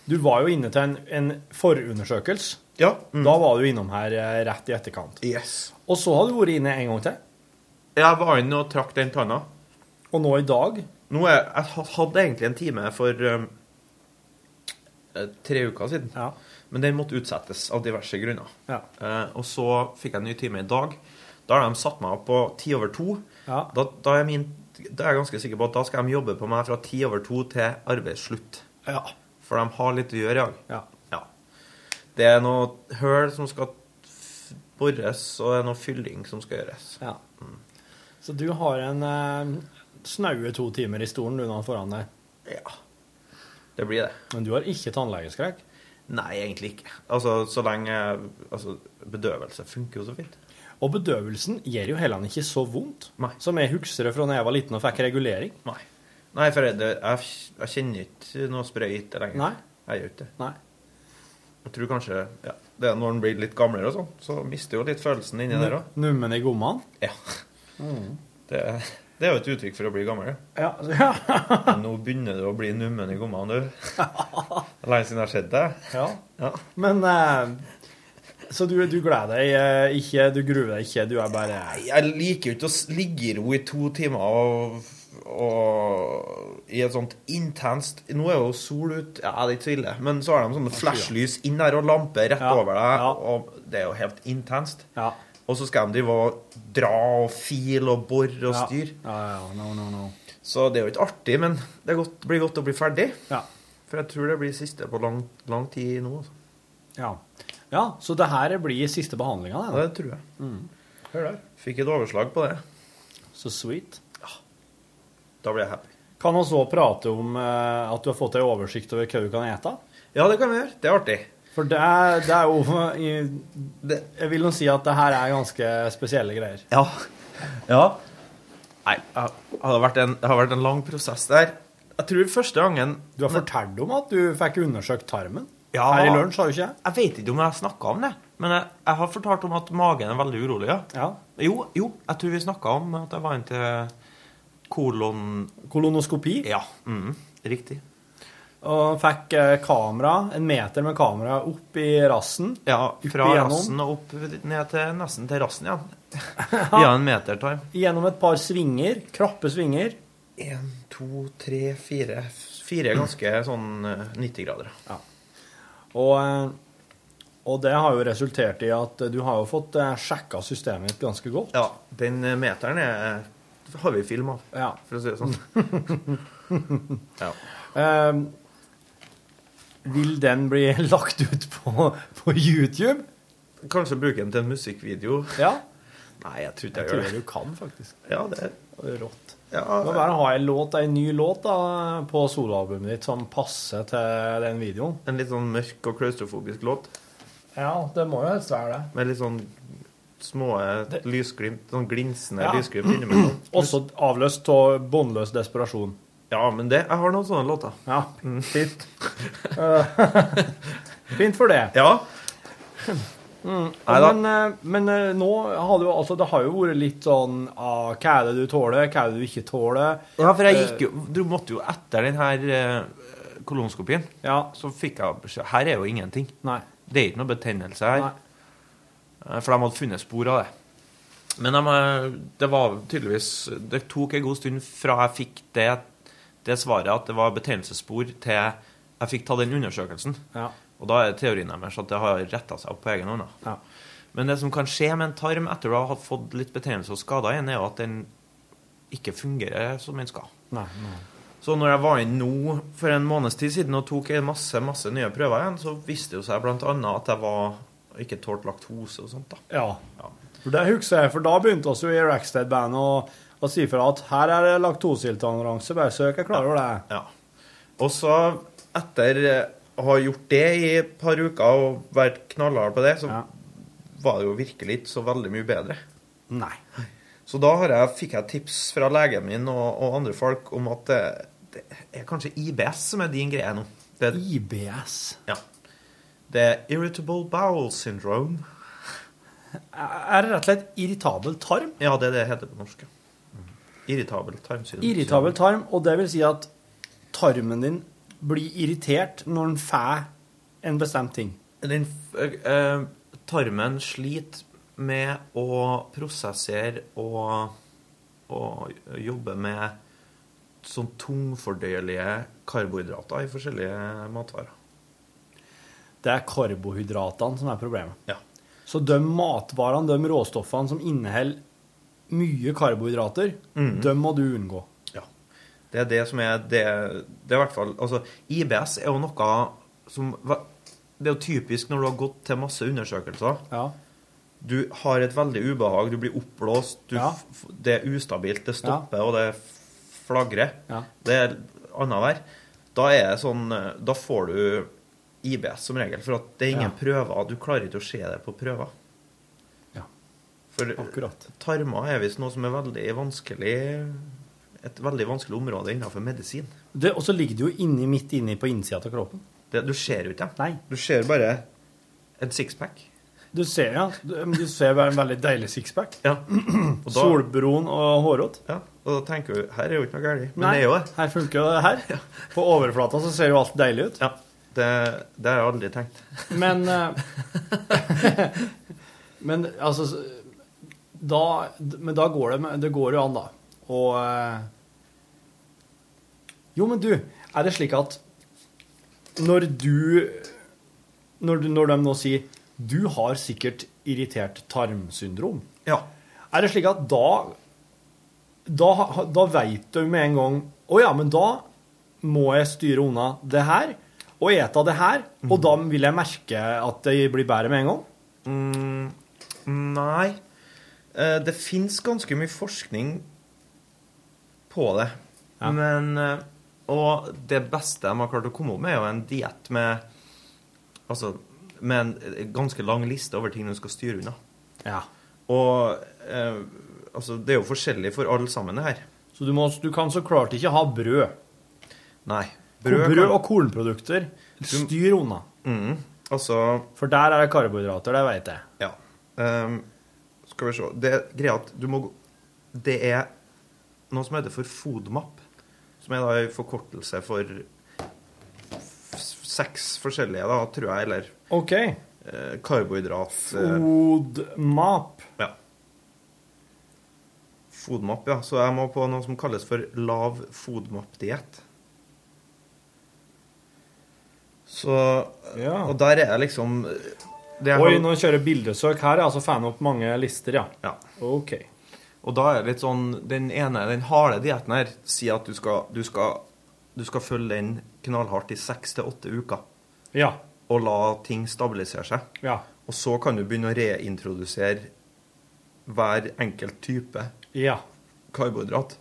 Speaker 4: Du var jo inne til en, en forundersøkelse.
Speaker 10: mm.
Speaker 4: Da var du innom her eh, rett i etterkant. Og så har du vært inne en gang til.
Speaker 10: Jeg var inne og trakk den tanna.
Speaker 4: Og nå i dag?
Speaker 10: Nå er, jeg ha- hadde egentlig en time for um, eh, tre uker siden. Men den måtte utsettes av diverse grunner.
Speaker 4: Ja.
Speaker 10: Eh, og så fikk jeg en ny time i dag. Da har de satt meg opp på ti over to. Da, da, er min, da er jeg ganske sikker på at da skal de jobbe på meg fra ti over to til arbeidsslutt. For de har litt å gjøre i dag. Ja. Det er noe høl som skal f- bores, og det er noe fylling som skal gjøres. Mm.
Speaker 4: Ja. Så du har en eh, snaue to timer i stolen unna foran deg.
Speaker 10: Ja. Det blir det.
Speaker 4: Men du har ikke tannlegeskrekk?
Speaker 10: Nei, egentlig ikke. Altså, så lenge altså, Bedøvelse funker jo så fint.
Speaker 4: Og bedøvelsen gjør jo heller ikke så vondt,
Speaker 10: Nei.
Speaker 4: som jeg husker det fra da jeg var liten og fikk regulering.
Speaker 10: Nei. Nei, for jeg, det- jeg, jeg kjenner ikke noe sprøyte lenger.
Speaker 4: Nei.
Speaker 10: Jeg gjør ikke det.
Speaker 4: Nei.
Speaker 10: Jeg tror kanskje ja, det er når en blir litt gamlere og sånn, så mister jo litt følelsen inni der òg.
Speaker 4: Nummen i gommene?
Speaker 10: Ja. Det, det er jo et uttrykk for å bli gammel.
Speaker 4: Ja.
Speaker 10: Nå begynner du å bli nummen i gommene, du. Det er Lenge siden jeg har sett deg.
Speaker 4: Ja. Men eh, Så du, du gleder deg eh, ikke, du gruer deg ikke, du er bare
Speaker 10: Jeg liker jo ikke å s- ligge i ro i to timer og, og i et sånt intenst Nå er jo sol ute, ja, det er ikke så ille, men så har de sånne flashlys inn der og lampe rett over deg, og det er jo helt intenst. Og så skal de drive og dra og file og bore og
Speaker 4: Ja.
Speaker 10: styre.
Speaker 4: Ja, ja, no, no, no.
Speaker 10: Så det er jo ikke artig, men det er godt, blir godt å bli ferdig.
Speaker 4: Ja.
Speaker 10: For jeg tror det blir siste på lang, lang tid nå. altså.
Speaker 4: Ja. ja så det her blir siste behandlinga,
Speaker 10: Ja, det tror jeg. Hør der. Fikk et overslag på det.
Speaker 4: Så sweet.
Speaker 10: Da blir jeg happy.
Speaker 4: Kan vi også prate om eh, at du har fått ei oversikt over hva du kan ete?
Speaker 10: Ja, det kan vi gjøre. Det er artig.
Speaker 4: For det er, det er jo i- Jeg vil nå si at det her er ganske spesielle greier.
Speaker 10: Ja. Ja. Nei, jeg- det har vært en, det har vært en lang prosess der. Jeg tror første gangen
Speaker 4: Du har fortalt om at du fikk undersøkt tarmen.
Speaker 10: Ja.
Speaker 4: Her i lunsj, har du ikke?
Speaker 10: Jeg vet ikke om jeg snakka om det, men jeg, jeg har fortalt om at magen er veldig urolig. Ja. Jo, jo, jeg tror vi snakka om at jeg var inne til kolon...
Speaker 4: Kolonoskopi.
Speaker 10: Ja. mhm, riktig.
Speaker 4: Og fikk eh, kamera, en meter med kamera, opp i rassen.
Speaker 10: Ja, Fra
Speaker 4: igjennom.
Speaker 10: rassen og opp ned til nesten til rassen igjen. Via en metertarm.
Speaker 4: Gjennom et par svinger. Krappe svinger.
Speaker 10: Én, to, tre, fire. Fire ganske sånn eh, 90 grader.
Speaker 4: Ja. Og, eh, og det har jo resultert i at du har jo fått eh, sjekka systemet ditt ganske godt.
Speaker 10: Ja, den eh, meteren er, eh, har vi film av, for å si det sånn. ja.
Speaker 4: Eh, vil den bli lagt ut på, på YouTube?
Speaker 10: Kanskje bruke den til en musikkvideo.
Speaker 4: Ja.
Speaker 10: Nei, jeg tror ikke
Speaker 4: Jeg
Speaker 10: jeg,
Speaker 4: tror
Speaker 10: gjør
Speaker 4: du
Speaker 10: det.
Speaker 4: kan, faktisk.
Speaker 10: Ja, det
Speaker 4: er rått.
Speaker 10: Ja,
Speaker 4: Det må
Speaker 10: det-
Speaker 4: være å ha en låt, en ny låt da, på soloalbumet ditt som passer til den videoen.
Speaker 10: en litt sånn mørk og klaustrofobisk låt
Speaker 4: Ja, det må jo helst være det.
Speaker 10: med litt sånn små eh, lysglimt, sånn glinsende
Speaker 4: Ja.
Speaker 10: lysglimt innimellom.
Speaker 4: Også avløst av båndløs desperasjon.
Speaker 10: Ja, men det Jeg har noen sånne låter.
Speaker 4: Ja, fint. Eh, fint for det.
Speaker 10: Ja.
Speaker 4: Mm.
Speaker 10: Neida.
Speaker 4: Men, eh, men eh, nå har det jo altså Det har jo vært litt sånn ah, Hva er det du tåler, hva er det du ikke tåler?
Speaker 10: Ja, for jeg
Speaker 4: Eh,
Speaker 10: gikk jo Du måtte jo etter den her eh, kolonskopien, så fikk jeg beskjed Her er jo ingenting.
Speaker 4: Nei.
Speaker 10: Det er ikke noe betennelse her. Eh, For de hadde funnet spor av det. Men de, eh, det var tydeligvis Det tok en god stund fra jeg fikk det, det svaret at det var betegnelsesspor, til jeg fikk ta den undersøkelsen.
Speaker 4: Ja.
Speaker 10: Og da er teorien deres at det har retta seg opp på egen hånd. da. Men det som kan skje med en tarm etter å ha fått litt betennelse og skader igjen, er jo at den ikke fungerer som den skal.
Speaker 4: Nei, nei.
Speaker 10: Så når jeg var inne nå for en måneds tid siden og tok en masse masse nye prøver igjen, så viste det jo seg bl.a. at jeg var ikke tålte laktose og sånt. da.
Speaker 4: Ja. For det husker jeg, for da begynte oss jo i Rackstead-bandet å- å si fra at her er det laktoseintoleranse, bare søk, jeg klarer det.
Speaker 10: Ja. Og så, etter eh, å ha gjort det i et par uker og vært knallhard på det, så var det jo virkelig ikke så veldig mye bedre.
Speaker 4: Nei.
Speaker 10: Så da har jeg, fikk jeg tips fra legen min og, og andre folk om at det, det er kanskje IBS som er din greie nå. Det,
Speaker 4: IBS?
Speaker 10: Ja. Det er Irritable Bowel Syndrome.
Speaker 4: Er det rett og slett irritabel tarm?
Speaker 10: Ja, det er det det heter på norsk. ja. Irritabel tarmsyndrom.
Speaker 4: Irritabel tarm, og det vil si at tarmen din blir irritert når den får en bestemt ting.
Speaker 10: Den, f- eh, tarmen sliter med å prosessere og, og jobbe med sånn tungfordøyelige karbohydrater i forskjellige matvarer.
Speaker 4: Det er karbohydratene som er problemet.
Speaker 10: Ja.
Speaker 4: Så de matvarene, de råstoffene som inneholder mye karbohydrater,
Speaker 10: Mhm.
Speaker 4: de må du unngå.
Speaker 10: Det er det som er det, det er i hvert fall Altså, IBS er jo noe som Det er jo typisk når du har gått til masse undersøkelser. Du har et veldig ubehag, du blir oppblåst, du,
Speaker 4: Ja.
Speaker 10: f- det er ustabilt, det stopper, og det flagrer.
Speaker 4: Ja.
Speaker 10: Det er annenhver. Da er det sånn eh, Da får du IBS som regel, for at det er ingen prøver. Du klarer ikke å se det på prøver. For tarmer er visst noe som er veldig vanskelig Et veldig vanskelig område innenfor medisin.
Speaker 4: Det- Og så ligger det jo inni, midt inni på innsida av kroppen.
Speaker 10: Det, du ser jo ikke dem.
Speaker 4: Nei.
Speaker 10: Du ser bare en sixpack.
Speaker 4: Du ser, ja. Du, men du ser bare en veldig deilig sixpack.
Speaker 10: Ja. Og da-
Speaker 4: Solbroen og hårrot.
Speaker 10: Ja, og da tenker du her er jo ikke noe galt. Men
Speaker 4: Nei,
Speaker 10: det er jo det.
Speaker 4: her funker jo det her. På overflata så ser jo alt deilig ut.
Speaker 10: Ja, det, det har jeg aldri tenkt.
Speaker 4: Men eh, Men altså så- da, Men da går det, med- det går jo an, da. Og eh, Jo, men du, er det slik at når du Når, du- når de nå sier 'Du har sikkert irritert tarmsyndrom',
Speaker 10: Ja.
Speaker 4: er det slik at da Da, ha- da veit du med en gang 'Å ja, men da må jeg styre unna det her', og ete det her, og da vil jeg merke at det blir bedre med en gang?
Speaker 10: Mm, nei. Eh, Det fins ganske mye forskning på det. Men eh, Og det beste de har klart å komme opp med, er jo en diett med Altså med en eh, ganske lang liste over ting du skal styre unna.
Speaker 4: Ja.
Speaker 10: Og eh, altså, det er jo forskjellig for alle sammen, det her.
Speaker 4: Så du, må, du kan så klart ikke ha brød.
Speaker 10: Nei.
Speaker 4: Brød,
Speaker 10: kan-
Speaker 4: og kornprodukter. Styr unna.
Speaker 10: Mm, altså
Speaker 4: For der er det karbohydrater, det veit jeg.
Speaker 10: Ja. Ehm, skal vi se Det er greia at du må gå Det er noe som heter for FODMAP, som er da en forkortelse for f- seks forskjellige, da, tror jeg, eller
Speaker 4: OK.
Speaker 10: eh, karbohydrat... eh,
Speaker 4: Odmap.
Speaker 10: ja. FODMAP, ja. Så jeg må på noe som kalles for lav FODMAP-diett. Så Og der er jeg liksom det jeg
Speaker 4: Oi,
Speaker 10: har-
Speaker 4: nå kjører bildesøk her, altså fan opp mange lister, ja. OK.
Speaker 10: Og da er det litt sånn Den ene, den harde dietten her, sier at du skal, du skal, du skal følge den knallhardt i seks til åtte uker.
Speaker 4: Ja.
Speaker 10: Og la ting stabilisere seg.
Speaker 4: Ja.
Speaker 10: Og så kan du begynne å reintrodusere hver enkelt type
Speaker 4: Ja.
Speaker 10: karbohydrat.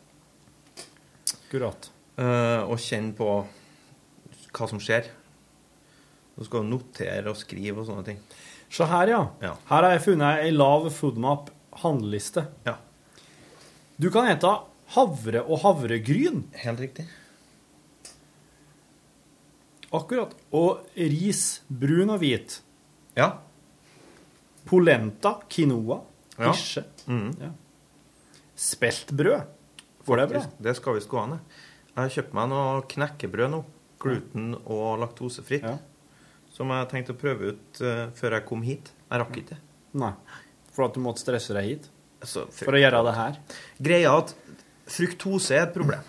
Speaker 4: Akkurat.
Speaker 10: eh, og kjenne på hva som skjer. Du skal jo notere og skrive og sånne ting.
Speaker 4: Så her, ja. Her har jeg funnet ei lav foodmap handleliste. Du kan ete havre og havregryn.
Speaker 10: Helt riktig.
Speaker 4: Akkurat. Og ris, brun og hvit.
Speaker 10: Ja.
Speaker 4: Polenta, quinoa,
Speaker 10: Ja.
Speaker 4: hirse.
Speaker 10: Mhm.
Speaker 4: Ja. Speltbrød. Får det bra?
Speaker 10: Faktisk, Det skal visst gå an. det. Jeg har kjøpt meg noe knekkebrød nå. Gluten- og laktosefritt. Som jeg tenkte å prøve ut eh, før jeg kom hit. Jeg rakk ikke.
Speaker 4: Nei. For at du måtte stresse deg hit?
Speaker 10: altså, frukt-
Speaker 4: For å gjøre det her.
Speaker 10: Greia er at fruktose er et problem.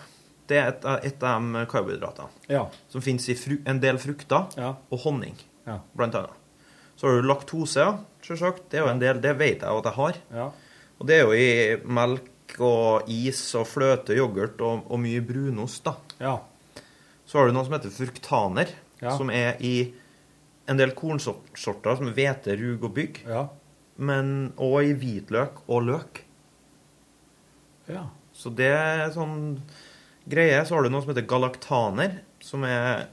Speaker 10: Det er et, av- et av de karbohydratene
Speaker 4: Ja.
Speaker 10: som finnes i fru, en del frukter og honning,
Speaker 4: Ja.
Speaker 10: blant annet. Så har du laktose, ja, selvsagt. Det er jo en del, det vet jeg jo at jeg har. Og det er jo i melk og is og fløte, yoghurt og, og mye brunost, da. Så har du noe som heter fruktaner,
Speaker 4: Ja.
Speaker 10: som er i en del kornsorter som hvete, rug og bygg,
Speaker 4: Ja.
Speaker 10: men også i hvitløk og løk.
Speaker 4: Ja.
Speaker 10: Så det er sånn greie. Så har du noe som heter galaktaner, som er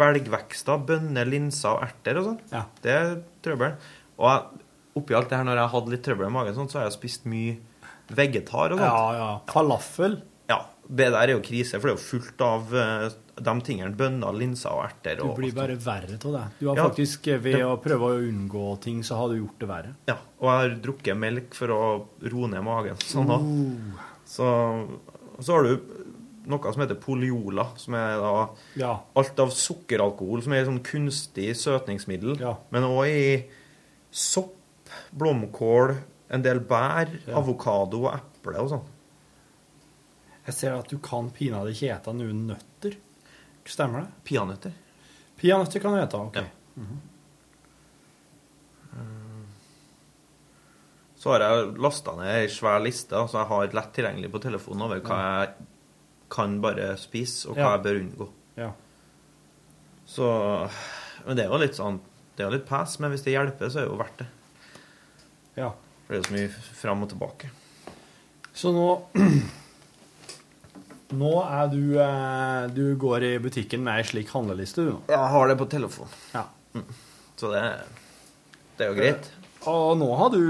Speaker 10: belgvekster, bønner, linser og erter og sånn. Det er trøbbel. Og jeg, oppi alt det her, når jeg har hatt litt trøbbel i magen, sånn, så har jeg spist mye vegetar og sånt.
Speaker 4: Ja, ja. Falafel.
Speaker 10: Ja. Det der er jo krise, for det er jo fullt av eh, de tingene. Bønner, linser og erter.
Speaker 4: Du
Speaker 10: Og,
Speaker 4: blir bare verre av det. Du har
Speaker 10: Ja.
Speaker 4: faktisk, eh, ved
Speaker 10: Det-
Speaker 4: å prøve å unngå ting, så har du gjort det verre.
Speaker 10: Ja, og jeg har drukket melk for å roe ned magen. Sånn da. Så, så har du noe som heter poliola, som er da
Speaker 4: Ja.
Speaker 10: alt av sukkeralkohol, som er et sånn kunstig søtningsmiddel, men også i sopp, blomkål, en del bær, avokado og eple og sånn.
Speaker 4: Jeg ser at du kan pinadø ikke ete noen nøtter. Stemmer det?
Speaker 10: Peanøtter.
Speaker 4: Peanøtter kan du ete, OK.
Speaker 10: Mm-hmm. Eh, Så har jeg lasta ned ei svær liste, så jeg har lett tilgjengelig på telefonen over hva jeg kan bare spise, og hva
Speaker 4: Ja.
Speaker 10: jeg bør unngå.
Speaker 4: Ja.
Speaker 10: Så Men det er jo litt sånn Det er jo litt pes, men hvis det hjelper, så er det jo verdt det.
Speaker 4: Ja.
Speaker 10: For det er jo så mye fram og tilbake.
Speaker 4: Så nå Nå er du eh, Du går i butikken med ei slik handleliste, du nå.
Speaker 10: Jeg har det på telefon.
Speaker 4: Ja.
Speaker 10: Så det, det er jo greit.
Speaker 4: Og nå har du,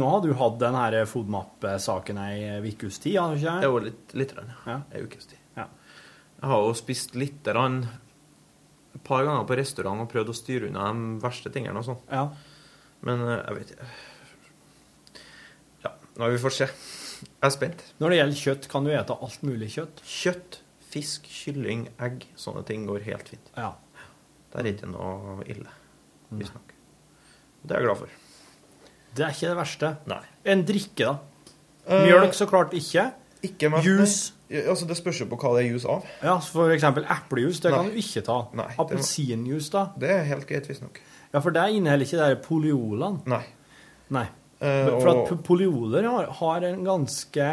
Speaker 4: nå har du hatt den her FODMAP-saken ei ukes tid, har du ikke?
Speaker 10: Det er jo litt, litt rann, ja. Ei ukes tid. Jeg har jo spist lite grann et par ganger på restaurant og prøvd å styre unna de verste tingene og sånn. Men eh, jeg vet ikke Ja, nei, vi får se. Jeg er spent.
Speaker 4: Når det gjelder kjøtt, kan du ete alt mulig kjøtt?
Speaker 10: Kjøtt, fisk, kylling, egg, sånne ting går helt fint.
Speaker 4: Ja.
Speaker 10: Det er ikke noe ille, visstnok. Og det er jeg glad for.
Speaker 4: Det er ikke det verste.
Speaker 10: Nei.
Speaker 4: En drikke, da?
Speaker 10: Eh,
Speaker 4: Mjølk så klart ikke.
Speaker 10: Ikke med
Speaker 4: Juice.
Speaker 10: Altså, det spørs jo på hva det er juice av.
Speaker 4: Ja, så for eksempel eplejus, det kan
Speaker 10: Nei.
Speaker 4: du ikke ta.
Speaker 10: Nei, det må-
Speaker 4: Appelsinjus, da?
Speaker 10: Det er helt greit, visstnok.
Speaker 4: Ja, for der inneholder ikke det her poliolaen.
Speaker 10: Nei.
Speaker 4: Nei.
Speaker 10: Eh,
Speaker 4: For at
Speaker 10: og-
Speaker 4: po- polioler har, har en ganske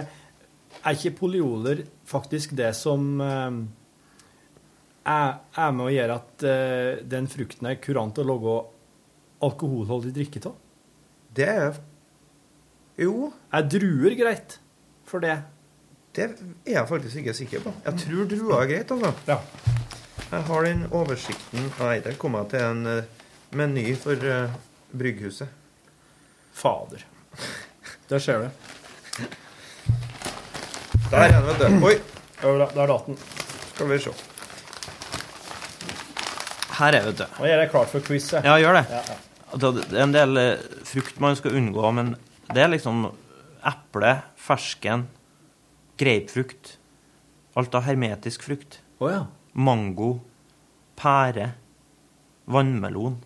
Speaker 4: Er ikke polioler faktisk det som eh, er, er med å gjøre at eh, den frukten er kurant å lage alkoholholdig drikke av?
Speaker 10: Det er Jo.
Speaker 4: Er druer greit for det?
Speaker 10: Det er jeg faktisk ikke sikker på. Jeg tror druer er greit, altså. Jeg har den oversikten Nei, der kom jeg til en eh, meny for eh, Brygghuset.
Speaker 4: Fader. Der ser du.
Speaker 10: Der er den, vet du. Oi.
Speaker 4: Der datt den.
Speaker 10: Skal vi se. Her er, vet du.
Speaker 4: Nå gjør jeg klart for quiz. jeg.
Speaker 10: Ja, gjør det.
Speaker 4: Ja, ja.
Speaker 10: Altså, Det er en del eh, frukt man skal unngå, men det er liksom eple, fersken, grapefrukt Alt av hermetisk frukt.
Speaker 4: Å ja.
Speaker 10: Mango, pære, vannmelon.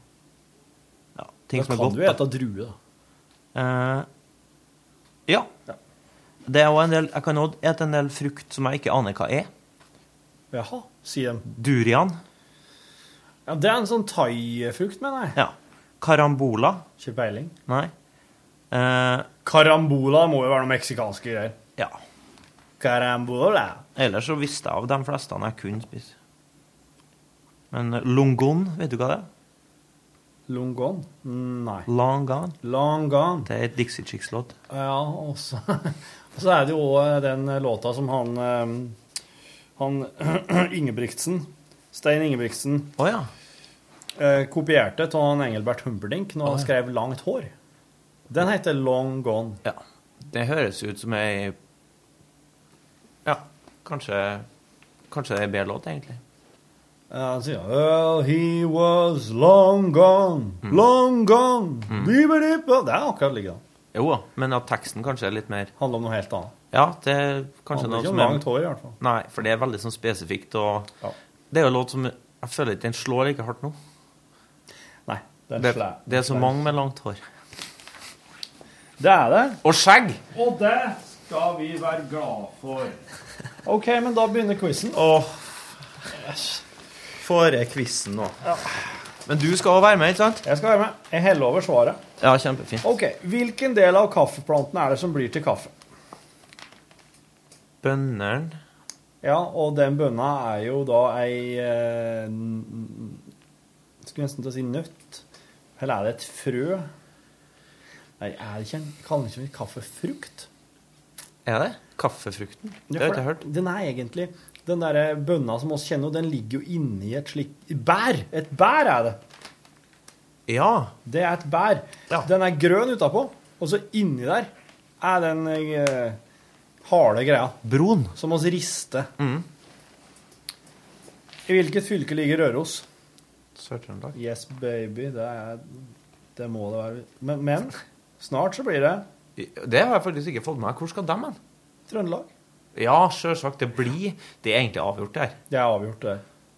Speaker 10: Ja, ting
Speaker 4: Da
Speaker 10: som
Speaker 4: kan
Speaker 10: er godt.
Speaker 4: du
Speaker 10: da.
Speaker 4: ete drue, da.
Speaker 10: Eh, ja. Det er også en del, jeg kan også ete en del frukt som jeg ikke aner hva er.
Speaker 4: Jaha, sier de.
Speaker 10: Durian.
Speaker 4: Ja, det er en sånn thaifrukt, mener jeg.
Speaker 10: Ja. Karambola.
Speaker 4: Ikke peiling.
Speaker 10: Nei. Eh,
Speaker 4: Carambola må jo være noe meksikanske greier.
Speaker 10: ja.
Speaker 4: Carambola.
Speaker 10: Ellers så visste jeg av de fleste jeg kunne spise. Men eh, longon, vet du hva det er?
Speaker 4: Longon? Mm, Nei.
Speaker 10: Longan.
Speaker 4: Longan.
Speaker 10: Det er et Dixie Chicks-låt.
Speaker 4: Ja, og så og så er det jo også den låta som han eh, Han Ingebrigtsen, Stein Ingebrigtsen,
Speaker 10: Å ja.
Speaker 4: eh, kopierte av han Engelbert Humperdinck når han skrev 'Langt hår'. Den heter 'Long Gone'.
Speaker 10: ja. Det høres ut som ei Ja, kanskje Kanskje det er en bedre låt, egentlig.
Speaker 4: Ja, Han sier Well, he was long gone,
Speaker 10: Mm.
Speaker 4: long gone Bibidibba. Det er akkurat like. da.
Speaker 10: Jo da, men at teksten kanskje er litt mer
Speaker 4: Handler om noe helt annet.
Speaker 10: Ja, det er kanskje
Speaker 4: Handler
Speaker 10: noe
Speaker 4: ikke
Speaker 10: som
Speaker 4: om langt hår, i hvert fall.
Speaker 10: Nei, for det er veldig sånn spesifikt. Og
Speaker 4: Ja.
Speaker 10: Det er jo en låt som Jeg føler ikke den slår like hardt nå.
Speaker 4: Nei, den
Speaker 10: Det,
Speaker 4: slær-
Speaker 10: det er så mange med langt hår.
Speaker 4: Det er det.
Speaker 10: Og skjegg.
Speaker 4: Og det skal vi være glad for. OK, men da begynner quizen.
Speaker 10: Åh. Får jeg quizen nå? Men du skal også være med, ikke sant?
Speaker 4: Jeg skal være med. Jeg heller over svaret.
Speaker 10: Ja, kjempefint.
Speaker 4: Ok, Hvilken del av kaffeplantene er det som blir til kaffe?
Speaker 10: Bønneren
Speaker 4: Ja, og den bønna er jo da ei eh, n- Skulle nesten til å si nøtt. Eller er det et frø? Nei, er det ikke en, kaller det ikke en kaffefrukt?
Speaker 10: Er det? Kaffefrukten? Det
Speaker 4: Ja,
Speaker 10: har
Speaker 4: for
Speaker 10: ikke jeg hørt.
Speaker 4: Den er egentlig Den derre bønna som oss kjenner, den ligger jo inni et slikt bær. Et bær er det.
Speaker 10: Ja.
Speaker 4: Det er et bær. Den er grønn utapå, og så inni der er den eh, harde greia.
Speaker 10: Broen.
Speaker 4: Som oss rister.
Speaker 10: Mm.
Speaker 4: I hvilket fylke ligger Røros?
Speaker 10: Sør-Trøndelag.
Speaker 4: Yes, baby. Det, er, det må det være. Men, men snart så blir det
Speaker 10: Det har jeg faktisk ikke fått med meg. Hvor skal dem hen?
Speaker 4: Trøndelag.
Speaker 10: Ja, sjølsagt. Det blir Det er egentlig avgjort, det her.
Speaker 4: Det er avgjort, det.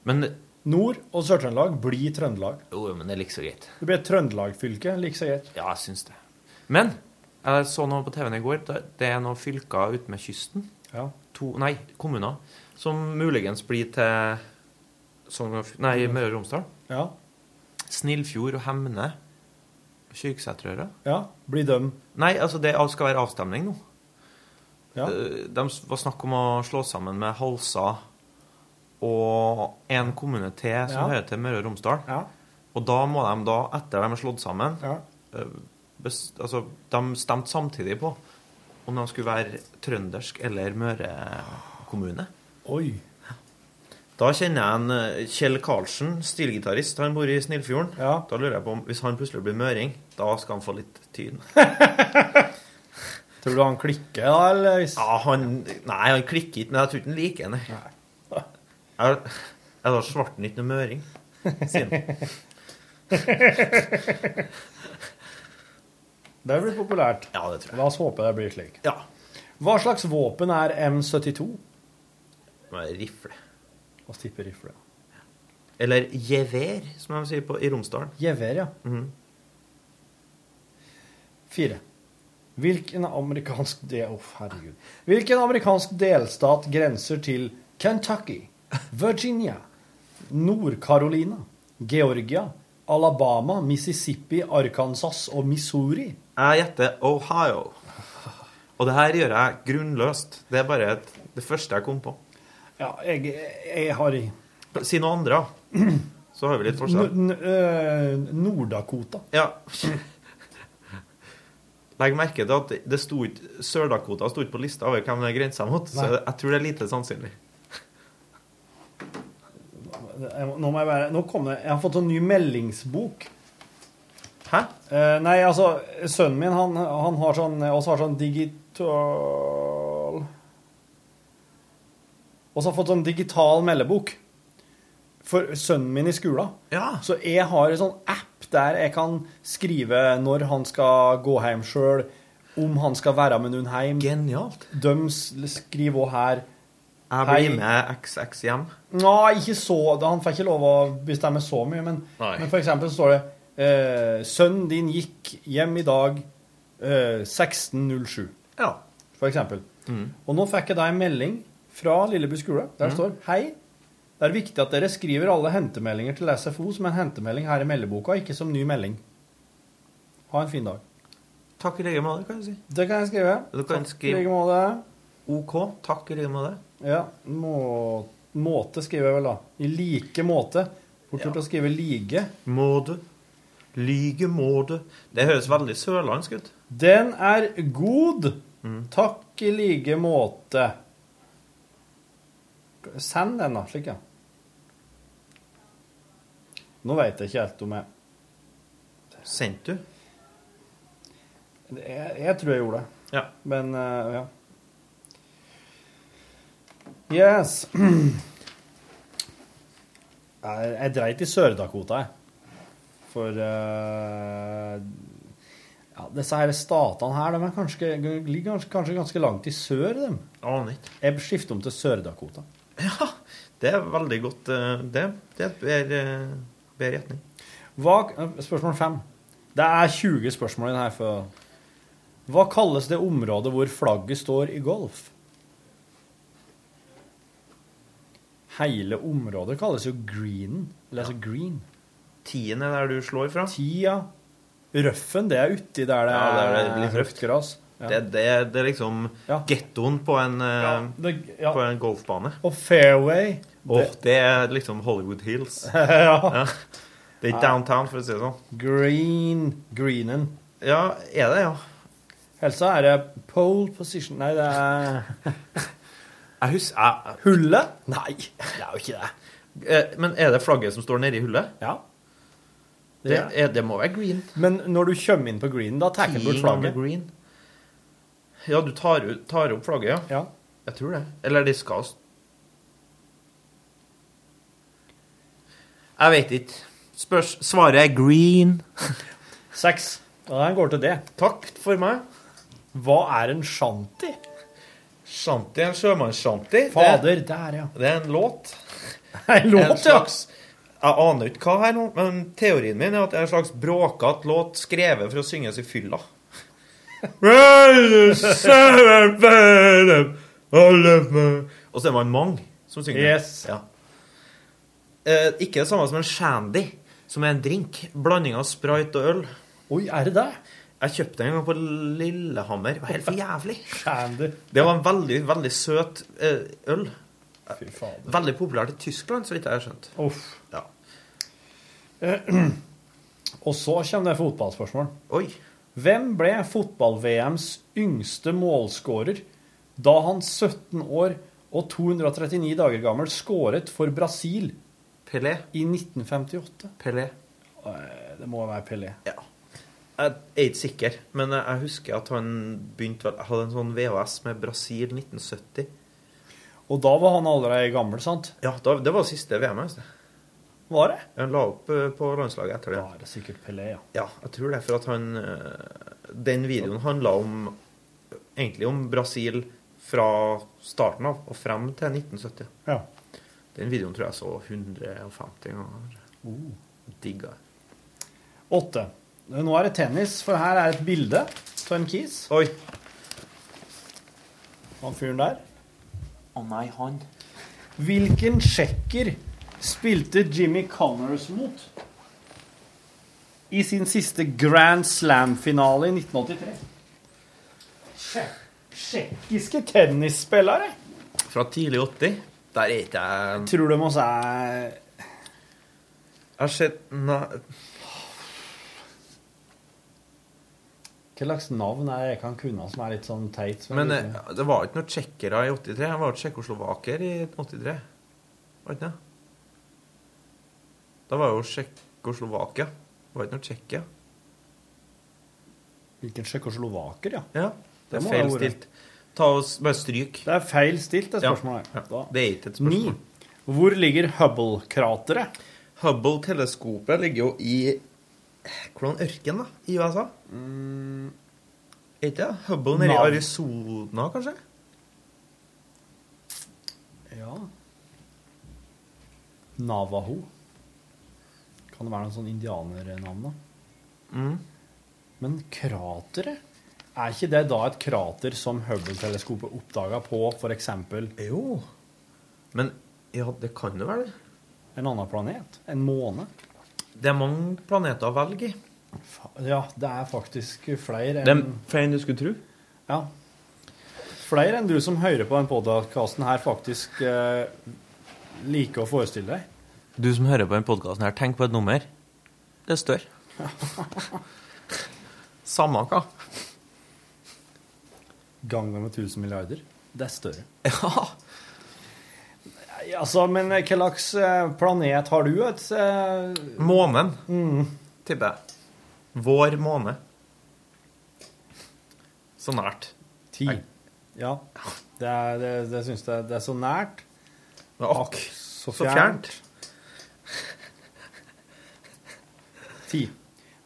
Speaker 10: Men
Speaker 4: Nord- og Sør-Trøndelag blir Trøndelag.
Speaker 10: Jo, men det er like så greit.
Speaker 4: Det blir et Trøndelag-fylke, like så greit.
Speaker 10: Ja, jeg syns det. Men jeg så noe på TV-en i går. Det det er noen fylker ute med kysten.
Speaker 4: Ja.
Speaker 10: To, nei, kommuner. Som muligens blir til Sogn og F- Nei, Møre og Romsdal.
Speaker 4: Ja.
Speaker 10: Snillfjord og Hemne. Kyrksæterøra.
Speaker 4: ja. Blir dem
Speaker 10: Nei, altså det skal være avstemning nå.
Speaker 4: Ja.
Speaker 10: Eh, De s- var snakk om å slå sammen med Halsa og en kommune til som
Speaker 4: Ja.
Speaker 10: hører til Møre og Romsdal.
Speaker 4: Ja.
Speaker 10: Og da må de da, etter de er slått sammen
Speaker 4: Ja.
Speaker 10: eh, bes- Altså, de stemte samtidig på om de skulle være trøndersk eller Møre kommune.
Speaker 4: Oi.
Speaker 10: Da kjenner jeg en eh, Kjell Karlsen, stilgitarist. Han bor i Snillfjorden. Da lurer jeg på om hvis han plutselig blir møring, da skal han få litt tyn.
Speaker 4: Tror du han klikker, da? eller? Hvis...
Speaker 10: Ja, han, nei, han klikker ikke, men jeg tror ikke han liker henne. Jeg, jeg har svarten ikke noe møring, sier han.
Speaker 4: Det blir populært.
Speaker 10: Ja, det tror jeg.
Speaker 4: La oss håpe det blir slik.
Speaker 10: Ja.
Speaker 4: Hva slags våpen er M72?
Speaker 10: Med rifle.
Speaker 4: Hva tipper rifle?
Speaker 10: Eller gevær, som de sier på, i Romsdalen.
Speaker 4: Gevær, ja.
Speaker 10: Mhm.
Speaker 4: Fire. Hvilken amerikansk de... Å, herregud. Hvilken amerikansk delstat grenser til Kentucky, Virginia, Nord-Carolina, Georgia, Alabama, Mississippi, Arkansas og Missouri?
Speaker 10: Jeg gjetter Ohio. Og det her gjør jeg grunnløst. Det er bare et, det første jeg kom på.
Speaker 4: Ja, jeg, jeg har
Speaker 10: Si noe andre, da. Så har vi litt forskjell.
Speaker 4: N- n- øh, Nord-Dakota.
Speaker 10: Ja. Legg merke til at det sto ikke Sør-Dakota sto ikke på lista over hvem det er grensa mot, så
Speaker 4: Nei.
Speaker 10: jeg tror det er lite sannsynlig.
Speaker 4: Jeg må- Nå må jeg være Nå kom det Jeg har fått en ny meldingsbok.
Speaker 10: Hæ?
Speaker 4: Eh, nei, altså Sønnen min, han, han har sånn Og så har sånn digital Og så har jeg fått sånn digital meldebok for sønnen min i skolen. Så jeg har en sånn app der jeg kan skrive når han skal gå hjem sjøl, om han skal være med noen hjem.
Speaker 10: Genialt.
Speaker 4: De s- skriver òg her
Speaker 10: Jeg
Speaker 4: Hei.
Speaker 10: blir med XX hjem.
Speaker 4: Nei, ikke så Han får ikke lov å bestemme så mye, men,
Speaker 10: Nei.
Speaker 4: men for eksempel så står det eh, 'Sønnen din gikk hjem i dag eh, 16.07'.
Speaker 10: Ja.
Speaker 4: For eksempel.
Speaker 10: Mm.
Speaker 4: Og nå fikk jeg da en melding fra Lilleby skole. Der
Speaker 10: Mm.
Speaker 4: står 'Hei. Det er viktig at dere skriver alle hentemeldinger til SFO som en hentemelding her i meldeboka, ikke som ny melding. Ha en fin dag.
Speaker 10: Takk i like måte, kan du si.
Speaker 4: Det kan jeg skrive.
Speaker 10: Du kan
Speaker 4: Takk i
Speaker 10: skrive-
Speaker 4: like måte.
Speaker 10: OK. Takk i like måte.
Speaker 4: Ja. Må, måte skriver jeg vel, da. I like måte. Fort gjort å skrive 'like'.
Speaker 10: Måte. Lyge måte. Det høres veldig sørlandsk ut.
Speaker 4: Den er god. Takk i like måte. Send den, da. Slik, ja. Nå veit jeg ikke helt om jeg
Speaker 10: Sendte du?
Speaker 4: Jeg, jeg tror jeg gjorde det.
Speaker 10: Ja.
Speaker 4: Men eh, ja. Yes. Jeg, jeg dreit i Sør-Dakota, jeg. For eh, ja, disse her statene her de er kanskje, ligger kanskje, kanskje ganske langt i sør, dem.
Speaker 10: Aner ikke.
Speaker 4: Jeg skifter om til Sør-Dakota.
Speaker 10: Det er veldig godt, eh, det. Det er bedre, eh, bedre gjetning.
Speaker 4: Hva, spørsmål fem. Det er 20 spørsmål i denne. For, Hva kalles det området hvor flagget står i golf? Hele området kalles jo greenen. Eller altså green.
Speaker 10: Tien er der du slår fra?
Speaker 4: Ti, ja. Røffen, det er uti der det
Speaker 10: Ja, der
Speaker 4: er,
Speaker 10: det blir
Speaker 4: høyt gras. Ja.
Speaker 10: Det, det, det er liksom gettoen på en, eh, på en golfbane.
Speaker 4: Og fairway.
Speaker 10: Åh, det er liksom Hollywood Hills.
Speaker 4: Ja.
Speaker 10: Det er ikke
Speaker 4: Ja.
Speaker 10: downtown, for å si det sånn.
Speaker 4: Green. Greenen.
Speaker 10: Ja, er det,
Speaker 4: ja. Ellers så er det pole position Nei, det er
Speaker 10: Jeg husker jeg,
Speaker 4: Hullet? Nei, det er jo ikke det.
Speaker 10: Eh, Men er det flagget som står nede i hullet?
Speaker 4: Ja.
Speaker 10: Det, er, det må være green.
Speaker 4: Men når du kommer inn på greenen, da tar den bort
Speaker 10: Teeing on the
Speaker 4: flagget.
Speaker 10: green. Ja, du tar, ut- tar opp flagget, ja. Jeg tror det. Eller de skal s- Jeg vet ikke. Spørs, svaret er green.
Speaker 4: Seks. Ja, den går til det.
Speaker 10: Takk for meg.
Speaker 4: Hva er en shanty?
Speaker 10: Shanty er en sjømannsshanty. Det-
Speaker 4: Fader, der, ja.
Speaker 10: Det er en låt.
Speaker 4: En låt,
Speaker 10: slags, Jeg aner ikke hva her nå, men teorien min er at det er en slags bråkete låt skrevet for å synges i fylla. Og så er man mange som synger.
Speaker 4: Yes.
Speaker 10: Ja. Eh, ikke det samme som en shandy, som er en drink. Blanding av sprite og øl.
Speaker 4: Oi, er det det?
Speaker 10: Jeg kjøpte den en gang på Lillehammer. Det var helt for jævlig.
Speaker 4: Shandy.
Speaker 10: Det var en veldig, veldig søt eh, øl.
Speaker 4: Fy fader.
Speaker 10: Veldig populært i Tyskland, så vidt jeg har skjønt.
Speaker 4: Uff.
Speaker 10: Ja.
Speaker 4: Og så kommer det fotballspørsmål.
Speaker 10: Oi.
Speaker 4: Hvem ble fotball-VMs yngste målskårer da han 17 år og 239 dager gammel skåret for Brasil
Speaker 10: Pelé.
Speaker 4: i 1958?
Speaker 10: Pelé.
Speaker 4: Eh, Det må være Pelé.
Speaker 10: Jeg er ikke sikker, men jeg- jeg husker at han begynte vel, jeg hadde en sånn VHS med Brasil 1970.
Speaker 4: Og da var han allerede gammel, sant?
Speaker 10: Ja, da, det var siste VM. Jeg,
Speaker 4: Var det?
Speaker 10: han la opp eh, på landslaget etter det. Da
Speaker 4: er det sikkert Pelé, ja.
Speaker 10: Ja, jeg tror det. For at han eh, Den videoen handla om egentlig om Brasil fra starten av og frem til 1970.
Speaker 4: Ja.
Speaker 10: Den videoen tror jeg så 150 ganger.
Speaker 4: Oh.
Speaker 10: Digga.
Speaker 4: Åtte. Nå er det tennis, for her er et bilde av en kis.
Speaker 10: Oi.
Speaker 4: Han fyren der.
Speaker 10: Å nei, han.
Speaker 4: Hvilken tsjekker spilte Jimmy Connors mot i sin siste Grand Slam-finale i 1983? Tsjekkiske tennisspillere.
Speaker 10: Fra tidlig 80. Der er ikke jeg
Speaker 4: Tror de oss er
Speaker 10: Jeg har sett Nei.
Speaker 4: Hva slags navn er det jeg kan kunne som er litt sånn teit? som jeg
Speaker 10: Men
Speaker 4: liker?
Speaker 10: eh, det var ikke noen tsjekkere i 83. Det var jo tsjekkoslovaker i 83. Var det ikke det? Da var jo Tsjekkoslovakia. Det var ikke noe Tsjekkia.
Speaker 4: Hvilken tsjekkoslovaker, ja.
Speaker 10: Ja, Det er
Speaker 4: må
Speaker 10: feil
Speaker 4: være ordet.
Speaker 10: stilt. Ta oss, Bare stryk.
Speaker 4: Det er feil stilt, det
Speaker 10: Ja,
Speaker 4: spørsmålet.
Speaker 10: ja.
Speaker 4: Da.
Speaker 10: Det er ikke et spørsmål.
Speaker 4: Ni. Hvor ligger Hubble-krateret?
Speaker 10: Hubble-teleskopet ligger jo i Hvordan ørken, da? I USA? Er ikke det? Hubble nede i
Speaker 4: Mm. Nav.
Speaker 10: Arizona, kanskje?
Speaker 4: Ja Navaho. Kan det være noen sånn indianernavn, da? Men krateret? Er ikke det da et krater som Hubble-teleskopet oppdaga på f.eks.
Speaker 10: Jo. Men ja, det kan jo være det.
Speaker 4: en annen planet? En måne?
Speaker 10: Det er mange planeter å velge i.
Speaker 4: Fa- Ja, det er faktisk flere
Speaker 10: Det er
Speaker 4: enn
Speaker 10: flere enn du skulle tro.
Speaker 4: Ja. Flere enn du som hører på den podkasten her, faktisk eh, liker å forestille deg.
Speaker 10: Du som hører på denne podkasten her, tenk på et nummer. Det er større. Samme hva.
Speaker 4: Gang med 1000 milliarder. Det er større.
Speaker 10: Ja.
Speaker 4: Nei, altså, men hva slags eh, planet har du? Et, eh,
Speaker 10: Månen,
Speaker 4: mm,
Speaker 10: tipper jeg. Vår måne. Så nært.
Speaker 4: ti. Ja. Det, er, det, det syns jeg det er så nært.
Speaker 10: Akk,
Speaker 4: så
Speaker 10: så
Speaker 4: fjernt. Ti.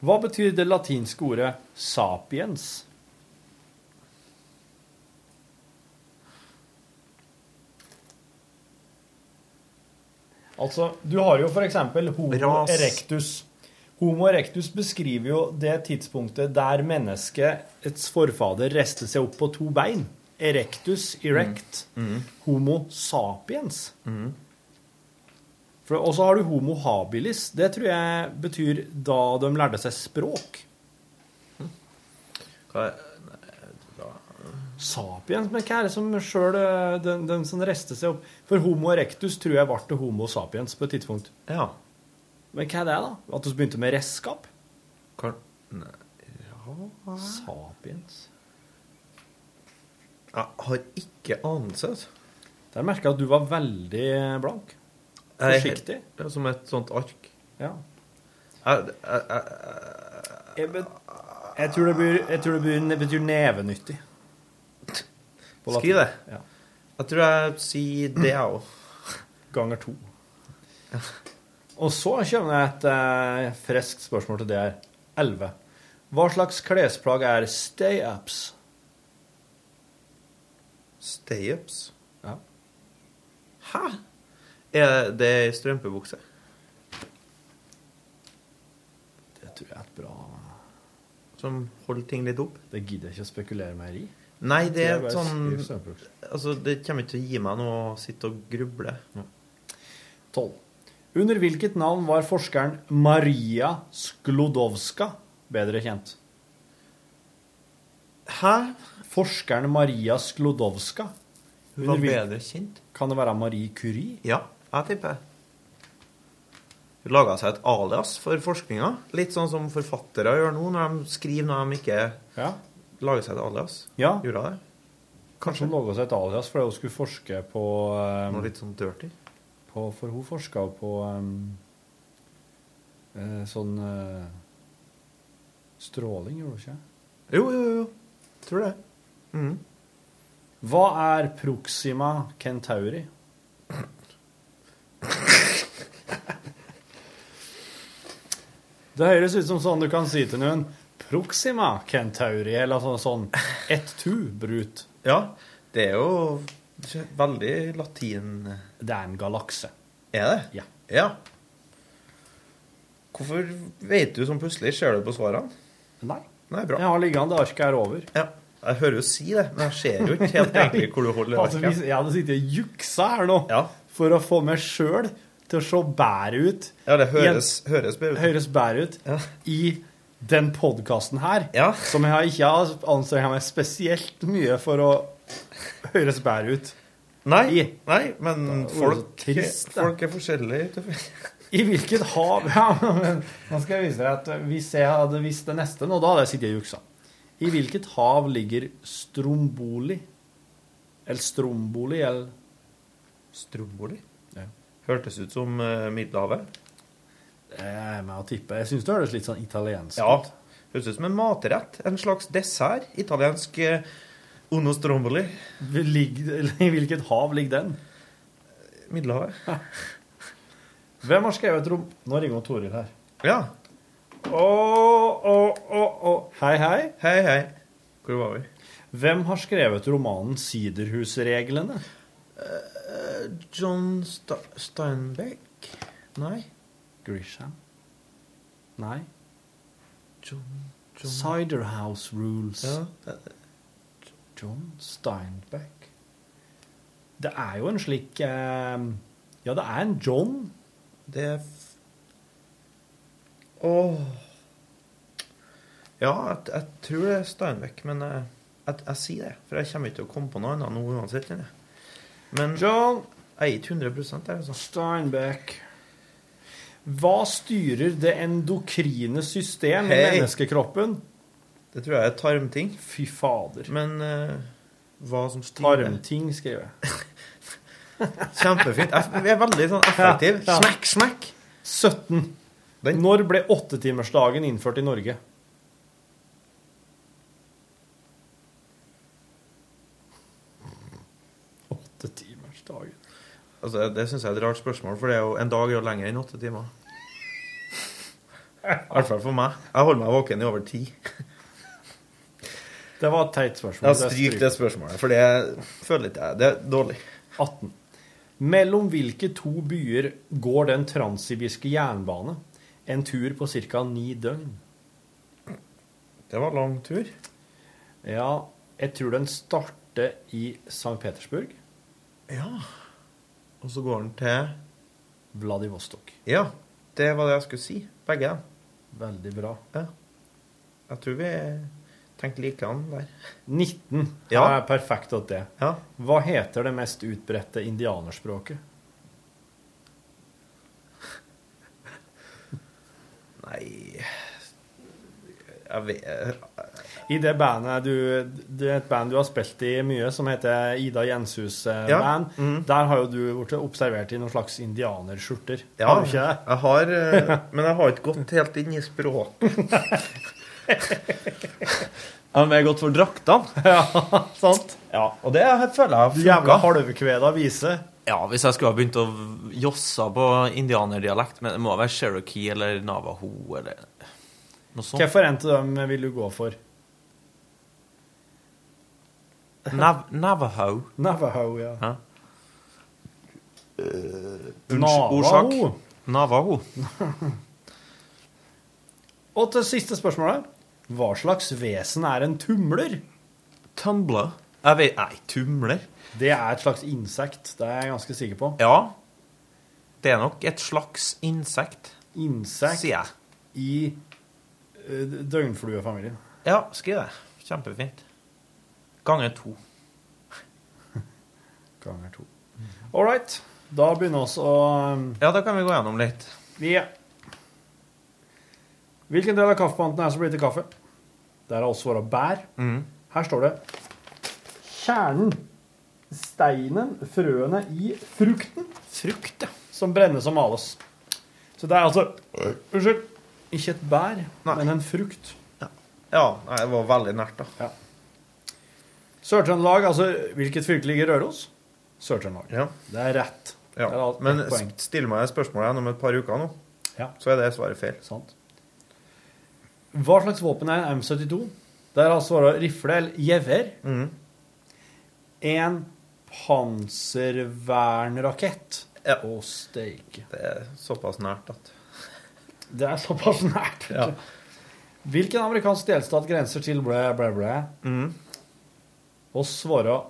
Speaker 4: Hva betyr det latinske ordet 'sapiens'? Altså, du har jo for eksempel Homo
Speaker 10: Ras.
Speaker 4: erectus. Homo erectus beskriver jo det tidspunktet der menneskets forfader reiste seg opp på to bein. Erectus erect. Homo sapiens. For- Og så har du homo habilis. Det tror jeg betyr da de lærte seg språk.
Speaker 10: Hva
Speaker 4: Sapiens, men hva er det som sjøl den, den som reiste seg opp For homo erectus tror jeg ble til homo sapiens på et tidspunkt.
Speaker 10: Ja.
Speaker 4: Men hva er det, da? At vi begynte med redskap?
Speaker 10: Hva? Nei. Ja.
Speaker 4: Sapiens.
Speaker 10: Jeg har ikke anelse. altså.
Speaker 4: Der merka jeg at du var veldig blank.
Speaker 10: Jeg er
Speaker 4: Forsiktig.
Speaker 10: helt- ja, Som et sånt ark.
Speaker 4: Ja.
Speaker 10: Jeg, jeg, jeg,
Speaker 4: Jeg, bet- jeg tror det, blir, jeg tror det blir, det betyr nevenyttig. På latin.
Speaker 10: Skriv det.
Speaker 4: Ja.
Speaker 10: Jeg tror jeg sier det, jeg òg.
Speaker 4: Ganger to. Og så kommer det et eh, friskt spørsmål til det her. 11. Hva slags klesplagg er stay-ups?
Speaker 10: Stay-ups?
Speaker 4: Ja.
Speaker 10: Hæ? Er det ei strømpebukse?
Speaker 4: Det tror jeg er et bra
Speaker 10: Som holder ting litt opp?
Speaker 4: Det gidder jeg ikke å spekulere mer i.
Speaker 10: Nei, det er
Speaker 4: Jeg bare
Speaker 10: et sånn
Speaker 4: skriver strømpebukse.
Speaker 10: Altså, det kommer ikke til å gi meg noe å sitte og gruble.
Speaker 4: 12. Under hvilket navn var forskeren Maria Sklodowska bedre kjent?
Speaker 10: Hæ?
Speaker 4: Forskeren Maria Sklodowska?
Speaker 10: Hun var
Speaker 4: Under hvil-
Speaker 10: bedre kjent.
Speaker 4: Kan det være Marie Curie?
Speaker 10: Ja, jeg tipper det. Hun laga seg et alias for forskninga. Litt sånn som forfattere gjør nå, når de skriver når de ikke lager seg et alias.
Speaker 4: Ja.
Speaker 10: Gjorde hun det?
Speaker 4: Kanskje hun laga seg et alias fordi hun skulle forske på um,
Speaker 10: Noe litt sånn dirty?
Speaker 4: På, for hun forska på um, eh, sånn eh, Stråling, gjorde hun ikke?
Speaker 10: Jo, jo, jo. Tror det. Mhm.
Speaker 4: Hva er Proxima Kentauri? Det høres ut som sånn du kan si til noen Proxima Kentauri, eller sånn, sånn et tu brut.
Speaker 10: Ja, det er jo veldig latin
Speaker 4: Det er en galakse.
Speaker 10: Er det?
Speaker 4: Ja.
Speaker 10: Hvorfor vet du sånn plutselig? Ser du på svarene?
Speaker 4: Nei.
Speaker 10: Nei, bra.
Speaker 4: Jeg har liggende arket her over.
Speaker 10: Ja. Jeg hører jo si det, men jeg ser jo ikke helt egentlig hvor du holder
Speaker 4: Altså, hvis
Speaker 10: verket.
Speaker 4: jeg hadde sittet og juksa her nå for å få meg sjøl til å se bedre ut
Speaker 10: Ja, det høres, høres bedre ut.
Speaker 4: høres bedre ut i den podkasten her, som jeg ikke har anstrengt meg spesielt mye for å høres bedre ut
Speaker 10: Nei,
Speaker 4: i.
Speaker 10: nei men folk,
Speaker 4: trist, da.
Speaker 10: folk er forskjellige.
Speaker 4: I hvilket hav Ja, men nå skal jeg vise deg at hvis jeg hadde visst det neste nå, da hadde jeg sittet og juksa. I hvilket hav ligger Stromboli? Eller Stromboli, eller
Speaker 10: Stromboli? Hørtes ut som eh, Middelhavet.
Speaker 4: Eh, Jeg er med å tippe. Jeg syns det høres litt sånn italiensk
Speaker 10: Ja. Høres ut som en matrett. En slags dessert. Italiensk eh, uno stromboli.
Speaker 4: I hvilket hav ligger den?
Speaker 10: Middelhavet.
Speaker 4: Hvem har skrevet rom... Nå ringer hun Toril her.
Speaker 10: Ja. Å, å, å, å.
Speaker 4: Hei, hei.
Speaker 10: Hei, hei. Hvor var vi?
Speaker 4: Hvem har skrevet romanen 'Siderhusreglene'?
Speaker 10: John Sta Steinbeck? Nei.
Speaker 4: Grisham? Nei.
Speaker 10: John, John.
Speaker 4: Ciderhouse Rules.
Speaker 10: Ja.
Speaker 4: John Steinbeck. Det er jo en slik eh, Ja, det er en John.
Speaker 10: Det er f- Åh Ja, jeg, jeg tror det er Steinbeck, men jeg, jeg, jeg sier det. For jeg kommer ikke til å komme på noe annet nå uansett. kjenner jeg. Men
Speaker 4: John
Speaker 10: jeg er ikke 100 der, altså.
Speaker 4: Steinbeck. Hva styrer det endokrine system i
Speaker 10: Hei.
Speaker 4: menneskekroppen?
Speaker 10: Det tror jeg er tarmting.
Speaker 4: Fy fader.
Speaker 10: Men eh, hva som styrer
Speaker 4: Tarmting, skriver jeg.
Speaker 10: Kjempefint. Jeg, jeg er veldig sånn effektiv.
Speaker 4: Ja, ja.
Speaker 10: Smekk, smekk.
Speaker 4: 17. Når ble åttetimersdagen innført i Norge? Åttetimersdagen
Speaker 10: Altså, det syns jeg er et rart spørsmål, for det er jo en dag er jo lenger enn åtte timer. I hvert fall for meg. Jeg holder meg våken i over ti.
Speaker 4: Det var et teit spørsmål.
Speaker 10: Ja,
Speaker 4: Det er
Speaker 10: stryk
Speaker 4: stryk.
Speaker 10: det spørsmålet, for det føler ikke jeg. Det er dårlig.
Speaker 4: 18. Mellom hvilke to byer går den transsibirske jernbane? En tur på ca. ni døgn.
Speaker 10: Det var lang tur.
Speaker 4: Ja, jeg tror den starter i St. Petersburg.
Speaker 10: Ja. Og så går den til
Speaker 4: Vladivostok.
Speaker 10: Ja, det var det jeg skulle si. Begge dem.
Speaker 4: Veldig bra.
Speaker 10: Ja. Jeg tror vi tenkte likedan der.
Speaker 4: 19
Speaker 10: Ja.
Speaker 4: er perfekt åt det. Hva heter det mest utbredte indianerspråket?
Speaker 10: Nei Jeg vet
Speaker 4: I det bandet du Det er et band du har spilt i mye, som heter Ida Jenshus eh,
Speaker 10: Ja.
Speaker 4: Band. Der har jo du blitt observert i noen slags indianerskjorter.
Speaker 10: Ja,
Speaker 4: Har du ikke det?
Speaker 10: Jeg har, eh, men jeg har ikke gått helt inn i språket.
Speaker 11: Ja, men jeg har gått for draktene.
Speaker 4: ja, sant.
Speaker 10: Og det føler jeg
Speaker 4: Jævla halvkveda vise.
Speaker 12: Ja, hvis jeg skulle ha begynt å josse på indianerdialekt, men det må være Cherokee eller Navaho eller noe sånt.
Speaker 4: Hvorfor en av dem vil du gå for?
Speaker 12: Nav Navajo.
Speaker 4: Navajo, ja. Eh,
Speaker 12: Hæ?
Speaker 4: Navajo.
Speaker 12: Ordsak. Navajo.
Speaker 4: Og til siste spørsmålet. Hva slags vesen er en tumler?
Speaker 12: Tumbler? Jeg vet, nei, tumler?
Speaker 4: Det er et slags insekt. Det er jeg ganske sikker på.
Speaker 12: Ja. Det er nok et slags insekt.
Speaker 4: Insekt
Speaker 12: Sier jeg.
Speaker 4: i eh, døgnfluefamilien.
Speaker 12: Ja, skriv det. Kjempefint. Ganger to.
Speaker 4: Ganger to. All right. Da begynner vi å um,
Speaker 12: Ja, da kan vi gå gjennom litt.
Speaker 4: Ja. Hvilken del av kaffepanten er det som blir til kaffe? Der har også vært bær.
Speaker 12: Mhm.
Speaker 4: Her står det Kjernen. Steinen. Frøene i frukten.
Speaker 12: Frukt, ja.
Speaker 4: Som brennes og males. Så det er altså Unnskyld. Ikke et bær, men en frukt.
Speaker 10: Ja, nei, det var veldig nært, da.
Speaker 4: Sør-Trøndelag, altså hvilket fylke ligger i Røros? Sør-Trøndelag. Det er rett.
Speaker 10: Ja.
Speaker 4: Det er alt-
Speaker 10: Men
Speaker 4: ett poeng.
Speaker 10: s- still meg spørsmålet igjen om et par uker nå,
Speaker 4: Ja.
Speaker 10: så er det svaret feil.
Speaker 4: Sant. Hva slags våpen er en M72? Der har svaret rifle eller gevær.
Speaker 10: Mhm.
Speaker 4: En panservernrakett. Ja. Å steike.
Speaker 10: Det er såpass nært at
Speaker 4: Det er såpass nært. vet du. Hvilken amerikansk delstat grenser til blæ, blæ, blæ? Og svarer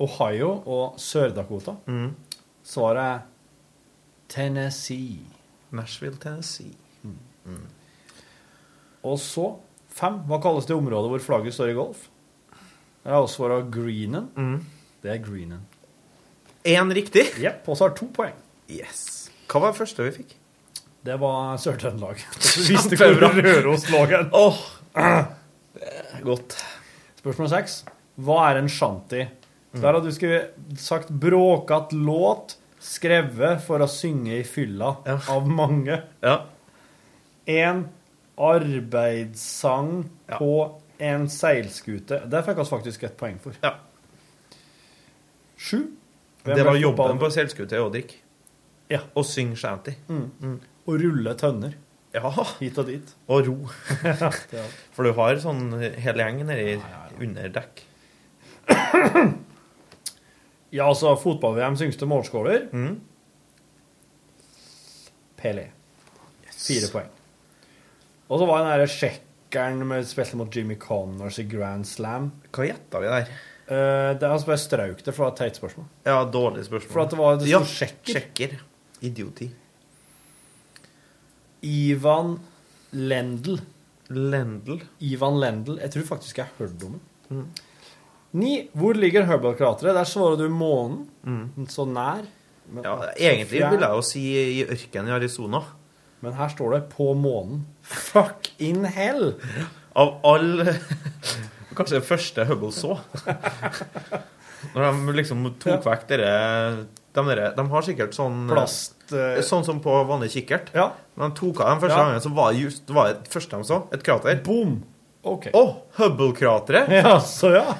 Speaker 4: Ohio og Sør-Dakota.
Speaker 12: Mhm.
Speaker 4: Svaret er Tennessee.
Speaker 12: Nashville, Tennessee.
Speaker 4: Og så fem. Hva kalles det området hvor flagget står i golf? Det er også svaret Greenen. Det er Greenen.
Speaker 10: Én riktig?
Speaker 4: Jepp. Og så har to poeng.
Speaker 10: Yes. Hva var det første vi fikk?
Speaker 4: Det var Sør-Trøndelag. Du visste hvor Røros lå hen.
Speaker 10: Åh,
Speaker 4: Godt. Spørsmål seks. Hva er en shanty?
Speaker 10: Mm.
Speaker 4: Der har du skrevet sagt bråkat låt, skrevet for å synge i fylla av mange. En arbeidssang på en seilskute. Der fikk oss faktisk et poeng for. Sju. Hvem
Speaker 10: det
Speaker 4: ble
Speaker 10: var jobben
Speaker 4: fotball-
Speaker 10: på seilskutet å drikke.
Speaker 4: Ja.
Speaker 10: Og synge shanty.
Speaker 4: Mm. Å rulle tønner. Hit og dit.
Speaker 10: Og ro.
Speaker 4: det er alt.
Speaker 10: For du har sånn hel gjeng nedi under dekk.
Speaker 4: Ja, altså fotball-VM syngste målskåler.
Speaker 10: Mm.
Speaker 4: Pelé. Fire poeng. Og så var den derre sjekkeren med spilte mot Jimmy Connors i Grand Slam.
Speaker 10: Hva gjetta vi der?
Speaker 4: Eh, det er altså bare strauk det, for det var et teit spørsmål.
Speaker 10: Ja, dårlig spørsmål.
Speaker 4: For at det var- det
Speaker 10: ja,
Speaker 4: sto sjekker.
Speaker 10: Idioti.
Speaker 4: Ivan Lendl.
Speaker 10: Lendl?
Speaker 4: Ivan Lendl. Jeg tror faktisk jeg har hørt om den.
Speaker 10: Mm.
Speaker 4: Ni. Hvor ligger Hubble-krateret? Der svarer du månen.
Speaker 10: Mm.
Speaker 4: Så nær. men-
Speaker 10: Ja, egentlig vil jeg jo si i ørkenen i Arizona.
Speaker 4: Men her står det 'på månen'. Fuck in hell!
Speaker 10: Av alle Kanskje det første Hubble så. Når de liksom tok vekk dere de, dere- de har sikkert sånn
Speaker 4: Plast, eh,
Speaker 10: Sånn som på vanlig kikkert. Men de tok av dem første
Speaker 4: Ja.
Speaker 10: gangen, så var det just det var det første de så. Et krater.
Speaker 4: Boom! Ok.
Speaker 10: Å! Hubble-krateret!
Speaker 4: Ja, så ja.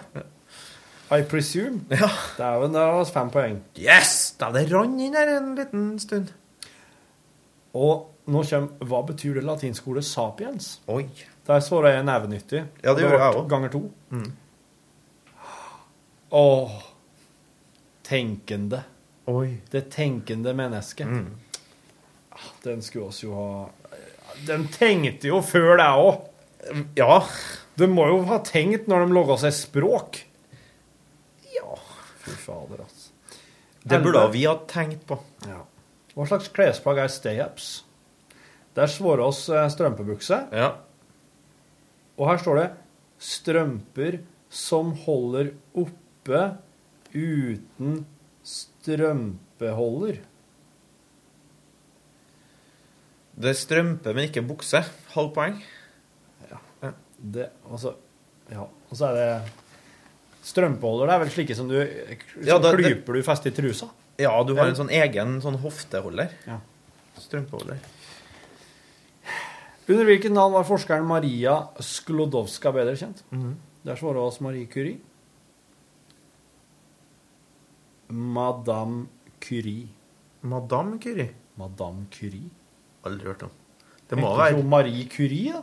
Speaker 4: I presume. Det er jo en der altså, fem poeng.
Speaker 10: Yes! Da det rant inn her en liten stund.
Speaker 4: Og nå kommer Hva betyr det latinske ordet 'sapiens'?
Speaker 10: Oi.
Speaker 4: Der svarer jeg nevenyttig.
Speaker 10: Ja, det gjorde jeg
Speaker 4: ble
Speaker 10: også.
Speaker 4: Ganger to.
Speaker 10: Mm.
Speaker 4: Åh Tenkende.
Speaker 10: Oi.
Speaker 4: Det tenkende mennesket. Ah,
Speaker 10: Mm.
Speaker 4: Den skulle oss jo ha
Speaker 13: De tenkte jo før det òg. Ja. De må jo ha tenkt når de laga seg språk. Ja Fy fader, altså.
Speaker 10: Det burde
Speaker 13: Elleve.
Speaker 10: vi ha tenkt på.
Speaker 13: Ja.
Speaker 4: Hva slags klesplagg er stay-ups? Der svarer oss eh, strømpebukse.
Speaker 10: Ja.
Speaker 4: Og her står det 'strømper som holder oppe uten strømpeholder'.
Speaker 10: Det er strømpe, men ikke bukse. Halvt poeng.
Speaker 4: Det, altså, ja, og så er det Strømpeholder det er vel slike som du som
Speaker 10: Ja, det- det-
Speaker 4: klyper du fest i trusa?
Speaker 10: Ja, du har en sånn egen sånn hofteholder.
Speaker 4: Ja.
Speaker 10: Strømpeholder.
Speaker 4: Under hvilket navn var forskeren Maria Sklodowska bedre kjent?
Speaker 10: Mhm.
Speaker 4: Der svarer oss Marie Curie. Madame Curie.
Speaker 10: Madame Curie?
Speaker 4: Madame Curie.
Speaker 10: Aldri hørt om. Det må
Speaker 4: Heter
Speaker 10: være
Speaker 4: ikke hun Marie Curie, da?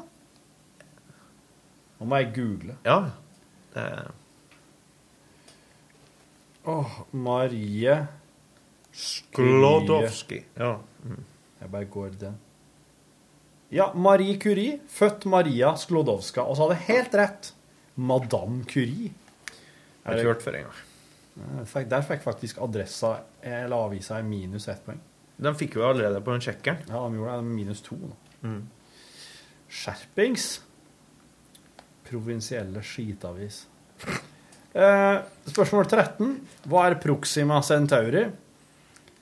Speaker 4: Nå må jeg google.
Speaker 10: Ja. Det-
Speaker 4: Åh, Marie
Speaker 10: Sklodowski. Ja.
Speaker 4: Jeg bare går den. Ja, Marie Curie, født Maria Sklodowska. Og så hadde jeg helt rett. Madame Curie.
Speaker 10: Jeg har ikke hørt før engang.
Speaker 4: Nei, fikk- Der fikk faktisk adressa eller avisa i minus ett poeng.
Speaker 10: De fikk jo allerede på den sjekkeren.
Speaker 4: Ja, de gjorde det. Minus to. nå. Skjerpings! Provinsielle skitavis. Eh, spørsmål 13. Hva er Proxima Centauri?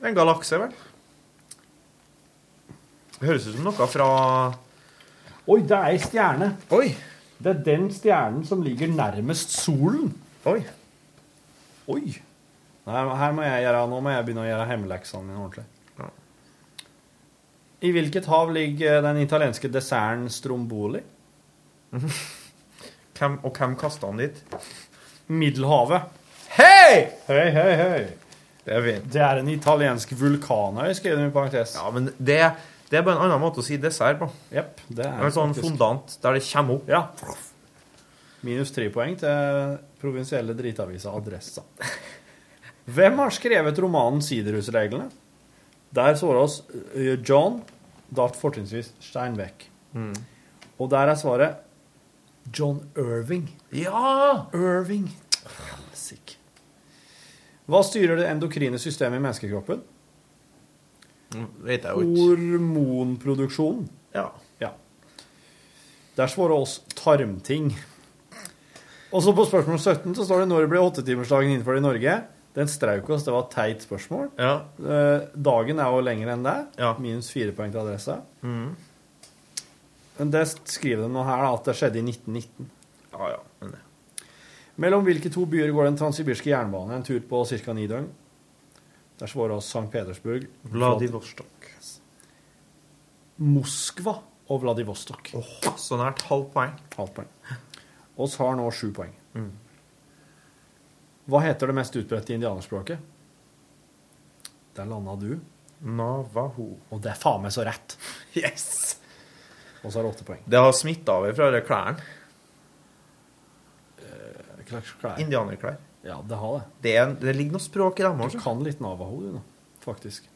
Speaker 10: En galakse, vel? Høres ut som noe fra
Speaker 4: Oi, det er ei stjerne. Oi! Det er den stjernen som ligger nærmest solen.
Speaker 10: Oi.
Speaker 4: Oi. Nei, men her må jeg gjøre, nå må jeg begynne å gjøre hjemmeleksene mine ordentlig. I hvilket hav ligger den italienske desserten stromboli?
Speaker 10: hvem, Og hvem kasta han dit?
Speaker 4: Middelhavet.
Speaker 10: Hei!
Speaker 4: Hei, hei, hei.
Speaker 10: Det er fint.
Speaker 4: Det er en italiensk vulkanøy, skrev de i parentes.
Speaker 10: Ja, men det, det er bare en annen måte å si dessert på.
Speaker 4: Jepp, det er
Speaker 10: En sånn
Speaker 4: faktisk-
Speaker 10: fondant der det kommer opp.
Speaker 4: Ja. Minus tre poeng til provinsielle dritavisa Adressa. Hvem har skrevet romanen Siderhusreglene? Der svarer oss eh, John, da fortrinnsvis Steinbeck. Og der er svaret John Irving.
Speaker 10: Ja!
Speaker 4: Irving. Helsike. Hva styrer det endokrine systemet i menneskekroppen?
Speaker 10: Vet jeg jo ikke.
Speaker 4: Hormonproduksjonen.
Speaker 10: Ja.
Speaker 4: Der svarer oss tarmting. Og så på spørsmål 17 så står det når ble åttetimersdagen innført i Norge? Den strauk oss. Det var et teit spørsmål. Eh, Dagen er jo lenger enn det. Minus fire poeng til adresse.
Speaker 10: Mhm.
Speaker 4: Men det skriver de nå her, da, at det skjedde i 1919.
Speaker 10: Ja, ja. Men det.
Speaker 4: Mellom hvilke to byer går den transsibirske jernbane? En tur på ca. ni døgn. Der svarer oss St. Petersburg.
Speaker 10: Vladivostok.
Speaker 4: Moskva og Vladivostok.
Speaker 10: så nært halvt poeng.
Speaker 4: Halvt poeng. Oss har nå sju poeng. Hva heter det mest utbredte indianerspråket? Der landa du.
Speaker 10: Navaho.
Speaker 4: Og det er faen meg så rett!
Speaker 10: Yes!
Speaker 4: Og så er det åtte poeng.
Speaker 10: Det har smitta over fra de klærne.
Speaker 4: klær.
Speaker 10: Indianerklær.
Speaker 4: Ja, det har det.
Speaker 10: Det, er, det ligger noe språk i dem
Speaker 4: Du
Speaker 10: også.
Speaker 4: kan litt navaho, du, nå. Faktisk.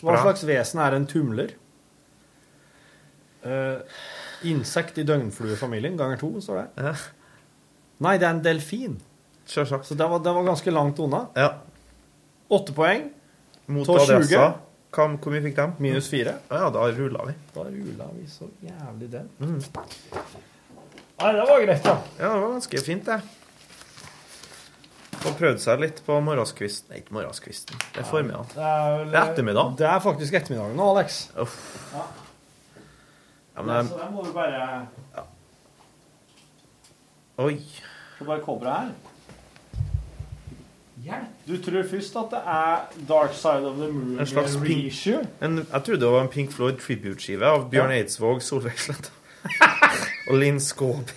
Speaker 4: Hva
Speaker 10: Bra.
Speaker 4: slags vesen er en tumler? Eh, insekt i døgnfluefamilien ganger to, står det. Nei, det er en delfin.
Speaker 10: Selvsagt.
Speaker 4: Så det var, det var ganske langt unna.
Speaker 10: Ja.
Speaker 4: Åtte poeng.
Speaker 10: Mot
Speaker 4: Tå
Speaker 10: adressa.
Speaker 4: 20.
Speaker 10: Hva, hvor mye fikk de?
Speaker 4: Minus fire.
Speaker 10: Ja, ja, da rulla vi.
Speaker 4: Da rula vi så jævlig den. Nei, det var greit, da.
Speaker 10: Ja, det var ganske fint, det. Og prøvde seg litt på morgenskvisten. Nei, ikke morgenskvisten. Det er formiddagen.
Speaker 4: Det er, vel,
Speaker 10: Det er ettermiddagen.
Speaker 4: Det er faktisk ettermiddagen nå, Alex.
Speaker 10: Ja, men
Speaker 4: Så
Speaker 10: det,
Speaker 4: der må du bare
Speaker 10: oi.
Speaker 4: Skal bare koble her. Du tror først at det er Dark Side of the Moon
Speaker 10: En slags pink,
Speaker 4: reissue.
Speaker 10: en, Jeg trodde det var en Pink Floyd tribute-skive av Bjørn Eidsvåg, Solveig Sletta og Linn Skåber.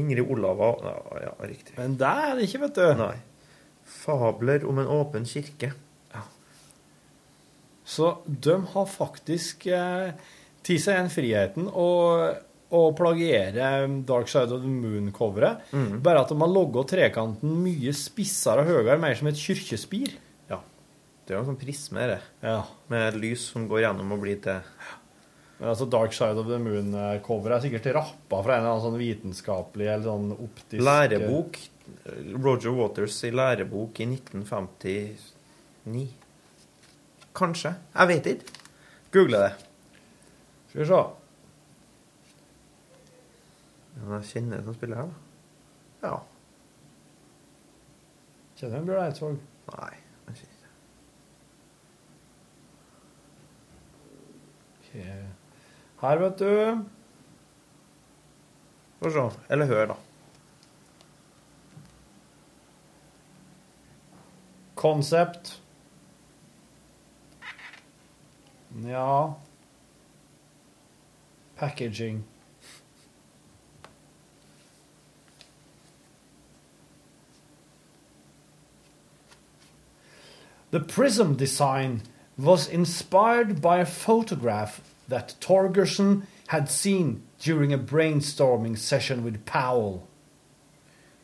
Speaker 10: Ingrid Olava ja, ja, riktig.
Speaker 4: Men det er det ikke, vet du.
Speaker 10: Nei. Fabler om en åpen kirke.
Speaker 4: Så de har faktisk eh, tatt seg den friheten å, å plagiere Dark Side of the Moon-coveret.
Speaker 10: Mhm.
Speaker 4: Bare at de har logga trekanten mye spissere og høyere, mer som et kirkespir.
Speaker 10: Det er jo en sånn prisme, det.
Speaker 4: Ja.
Speaker 10: Med lys som går gjennom og blir til
Speaker 4: Men altså Dark Side of the Moon-coveret er sikkert rappa fra en eller annen sånn vitenskapelig eller sånn optisk
Speaker 10: Lærebok. Roger Waters i lærebok i 1959. Kanskje. Jeg vet ikke. Google det.
Speaker 4: Skal vi se.
Speaker 10: Men jeg kjenner en som spiller her, da. Ja.
Speaker 4: Kjenner du Bjørn Eidsvåg?
Speaker 10: Nei.
Speaker 4: Ok. Her, vet du.
Speaker 10: Få se. Eller hør, da.
Speaker 4: Concept. Ja Packaging. The prism design was inspired by a photograph that Torgerson had seen during a brainstorming session with Powell.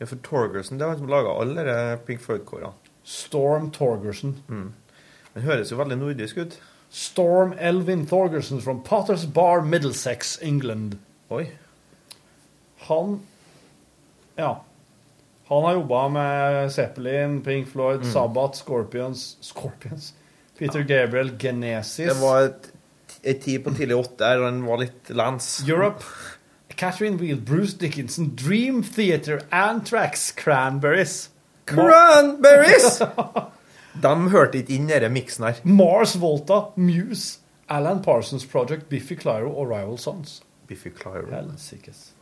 Speaker 10: Ja, for Torgerson det er han som laga alle de Pink Floyd-korene.
Speaker 4: Storm Torgerson.
Speaker 10: Mm. Den høres jo veldig nordisk ut.
Speaker 4: Storm Elvin Thorgerson from Potters Bar, Middlesex, England.
Speaker 10: Oi.
Speaker 4: Han Ja. Han har jobba med Zeppelin, Pink Floyd,
Speaker 10: Mm.
Speaker 4: Sabbath, Scorpions Scorpions? Peter Gabriel, Genesis
Speaker 10: Det var et, et tid på tidlig åtte her, og den var litt lands.
Speaker 4: Europe. Catherine Wheel, Bruce Dickinson, Dream Theater, Antrax, Cranberries.
Speaker 10: Cranberries! De hørte ikke inn i denne miksen her.
Speaker 4: Mars Volta, Muse, Alan Parsons Project, Biffy Clyro og Rival Sons.
Speaker 10: Biffy Clyro.
Speaker 4: Helsikes.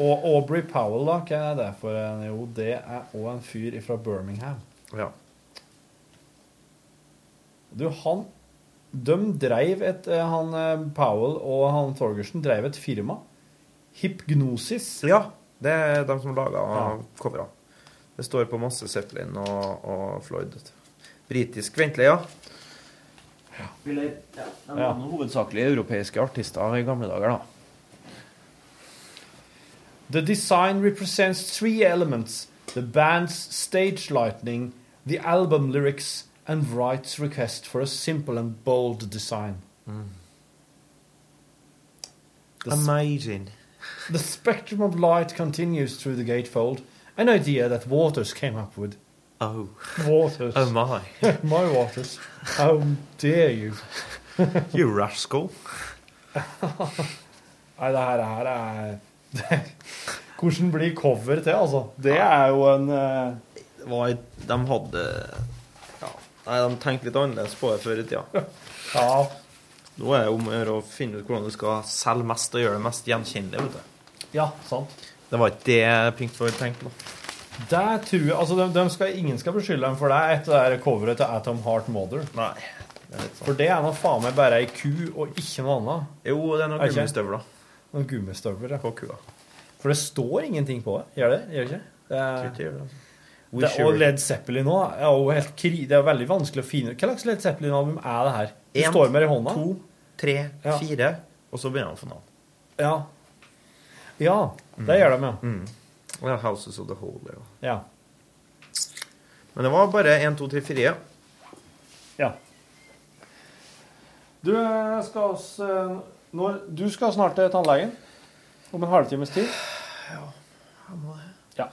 Speaker 4: Og Aubrey Powell, da, hva er det for en? Jo, det er òg en fyr fra Birmingham.
Speaker 10: Ja.
Speaker 4: Du, han De dreiv et eh, Han eh, Powell og han Torgersen dreiv et firma. Hypgnosis.
Speaker 10: Ja, det er de som laga
Speaker 4: Ja.
Speaker 10: covera. Det står på masse Zeppelin og, og Floyd. Britisk ventelig, ja.
Speaker 14: Ville- ja,
Speaker 10: de var nå
Speaker 14: hovedsakelig europeiske artister i gamle dager, da.
Speaker 4: The design represents three elements the band's stage lightning, the album lyrics, and Wright's request for a simple and bold design. The s-
Speaker 10: Amazing.
Speaker 4: The spectrum of light continues through the gatefold, an idea that Waters came up with.
Speaker 10: Oh.
Speaker 4: Waters.
Speaker 10: Oh my.
Speaker 4: my Waters. How dare you.
Speaker 10: You rascal.
Speaker 4: Nei, det her, det her er det, Hvordan blir cover til, altså? Det er jo en eh,
Speaker 10: Det var et, de hadde ja. Nei, de tenkte litt annerledes på det før i tida.
Speaker 4: Ja.
Speaker 10: Nå er det om å gjøre å finne ut hvordan du skal selge mest og gjøre det mest gjenkjennelig. vet du.
Speaker 4: Ja, sant.
Speaker 10: Det var ikke det Pink Floyd tenkte på.
Speaker 4: Der tror jeg, altså de, de skal, Ingen skal beskylde dem for det etter det der coveret til Atom Heart Mother.
Speaker 10: Nei,
Speaker 4: For det er nå faen meg bare ei ku og ikke noe annet.
Speaker 10: Jo, det er noen
Speaker 4: ikke?
Speaker 10: gummistøvler.
Speaker 4: Noen gummistøvler, ja.
Speaker 10: På kua.
Speaker 4: For det står ingenting på det. Gjør det? Gjør det ikke? Det
Speaker 10: Tror
Speaker 4: er,
Speaker 10: ikke det gjør det. We
Speaker 4: det,
Speaker 10: sure.
Speaker 4: og Led Zeppelin nå er jo helt kri... Det er veldig vanskelig å finne Hva slags Led Zeppelin-album er det her? Du
Speaker 10: En,
Speaker 4: står med det i hånda.
Speaker 10: to, tre,
Speaker 4: Ja.
Speaker 10: fire, og så begynner de å få navn.
Speaker 4: Ja. ja. Det gjør de, ja.
Speaker 10: Mm. Ja, Houses of the Holy. Ja.
Speaker 4: ja.
Speaker 10: Men det var bare 1, 2, 3, 4.
Speaker 4: Du eh, skal, oss, eh, når, du skal snart til tannlegen om en halvtimes tid. Ja.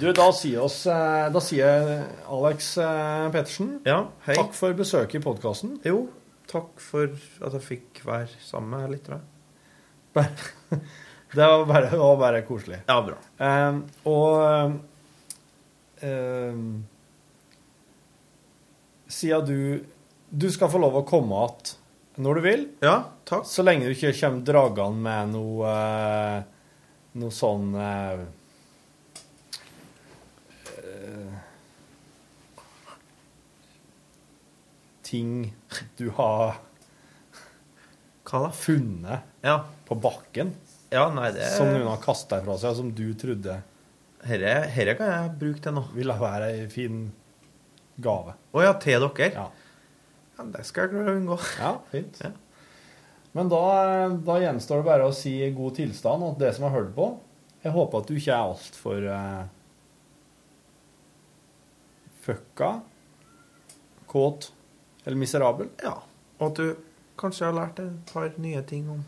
Speaker 4: Du, da sier, oss, eh, da sier Alex eh, Pettersen
Speaker 10: Ja, hei.
Speaker 4: takk for besøket i podkasten.
Speaker 10: Jo, takk for at jeg fikk være sammen med litt. tror jeg.
Speaker 4: Det var bare, det var bare koselig.
Speaker 10: Ja, bra.
Speaker 4: Eh, og eh, Siden du Du skal få lov å komme igjen når du vil. Så lenge du ikke kommer dragende med noe eh, Noe sånn eh, eh, Ting du har funnet på bakken.
Speaker 10: Ja, nei, det-
Speaker 4: Som noen har kasta fra seg, som du trodde
Speaker 10: Herre, herre kan jeg bruke til nå.
Speaker 4: ville være ei fin gave.
Speaker 10: Å ja, til dere?
Speaker 4: Ja.
Speaker 10: ja det skal jeg klare å unngå.
Speaker 4: Ja, fint. Men da, da gjenstår det bare å si god tilstand og det som har hørt på. Jeg håper at du ikke er altfor uh, fucka, kåt eller miserabel.
Speaker 10: Ja. Og at du Kanskje jeg har lært et par nye ting om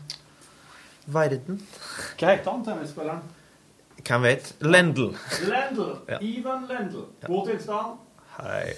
Speaker 10: verden.
Speaker 4: Hva heter han tennisspilleren?
Speaker 10: Hvem vet? Lendl.
Speaker 4: Lendl.
Speaker 10: Ja.
Speaker 4: Ivan Lendl. God tilstand.
Speaker 10: Hei.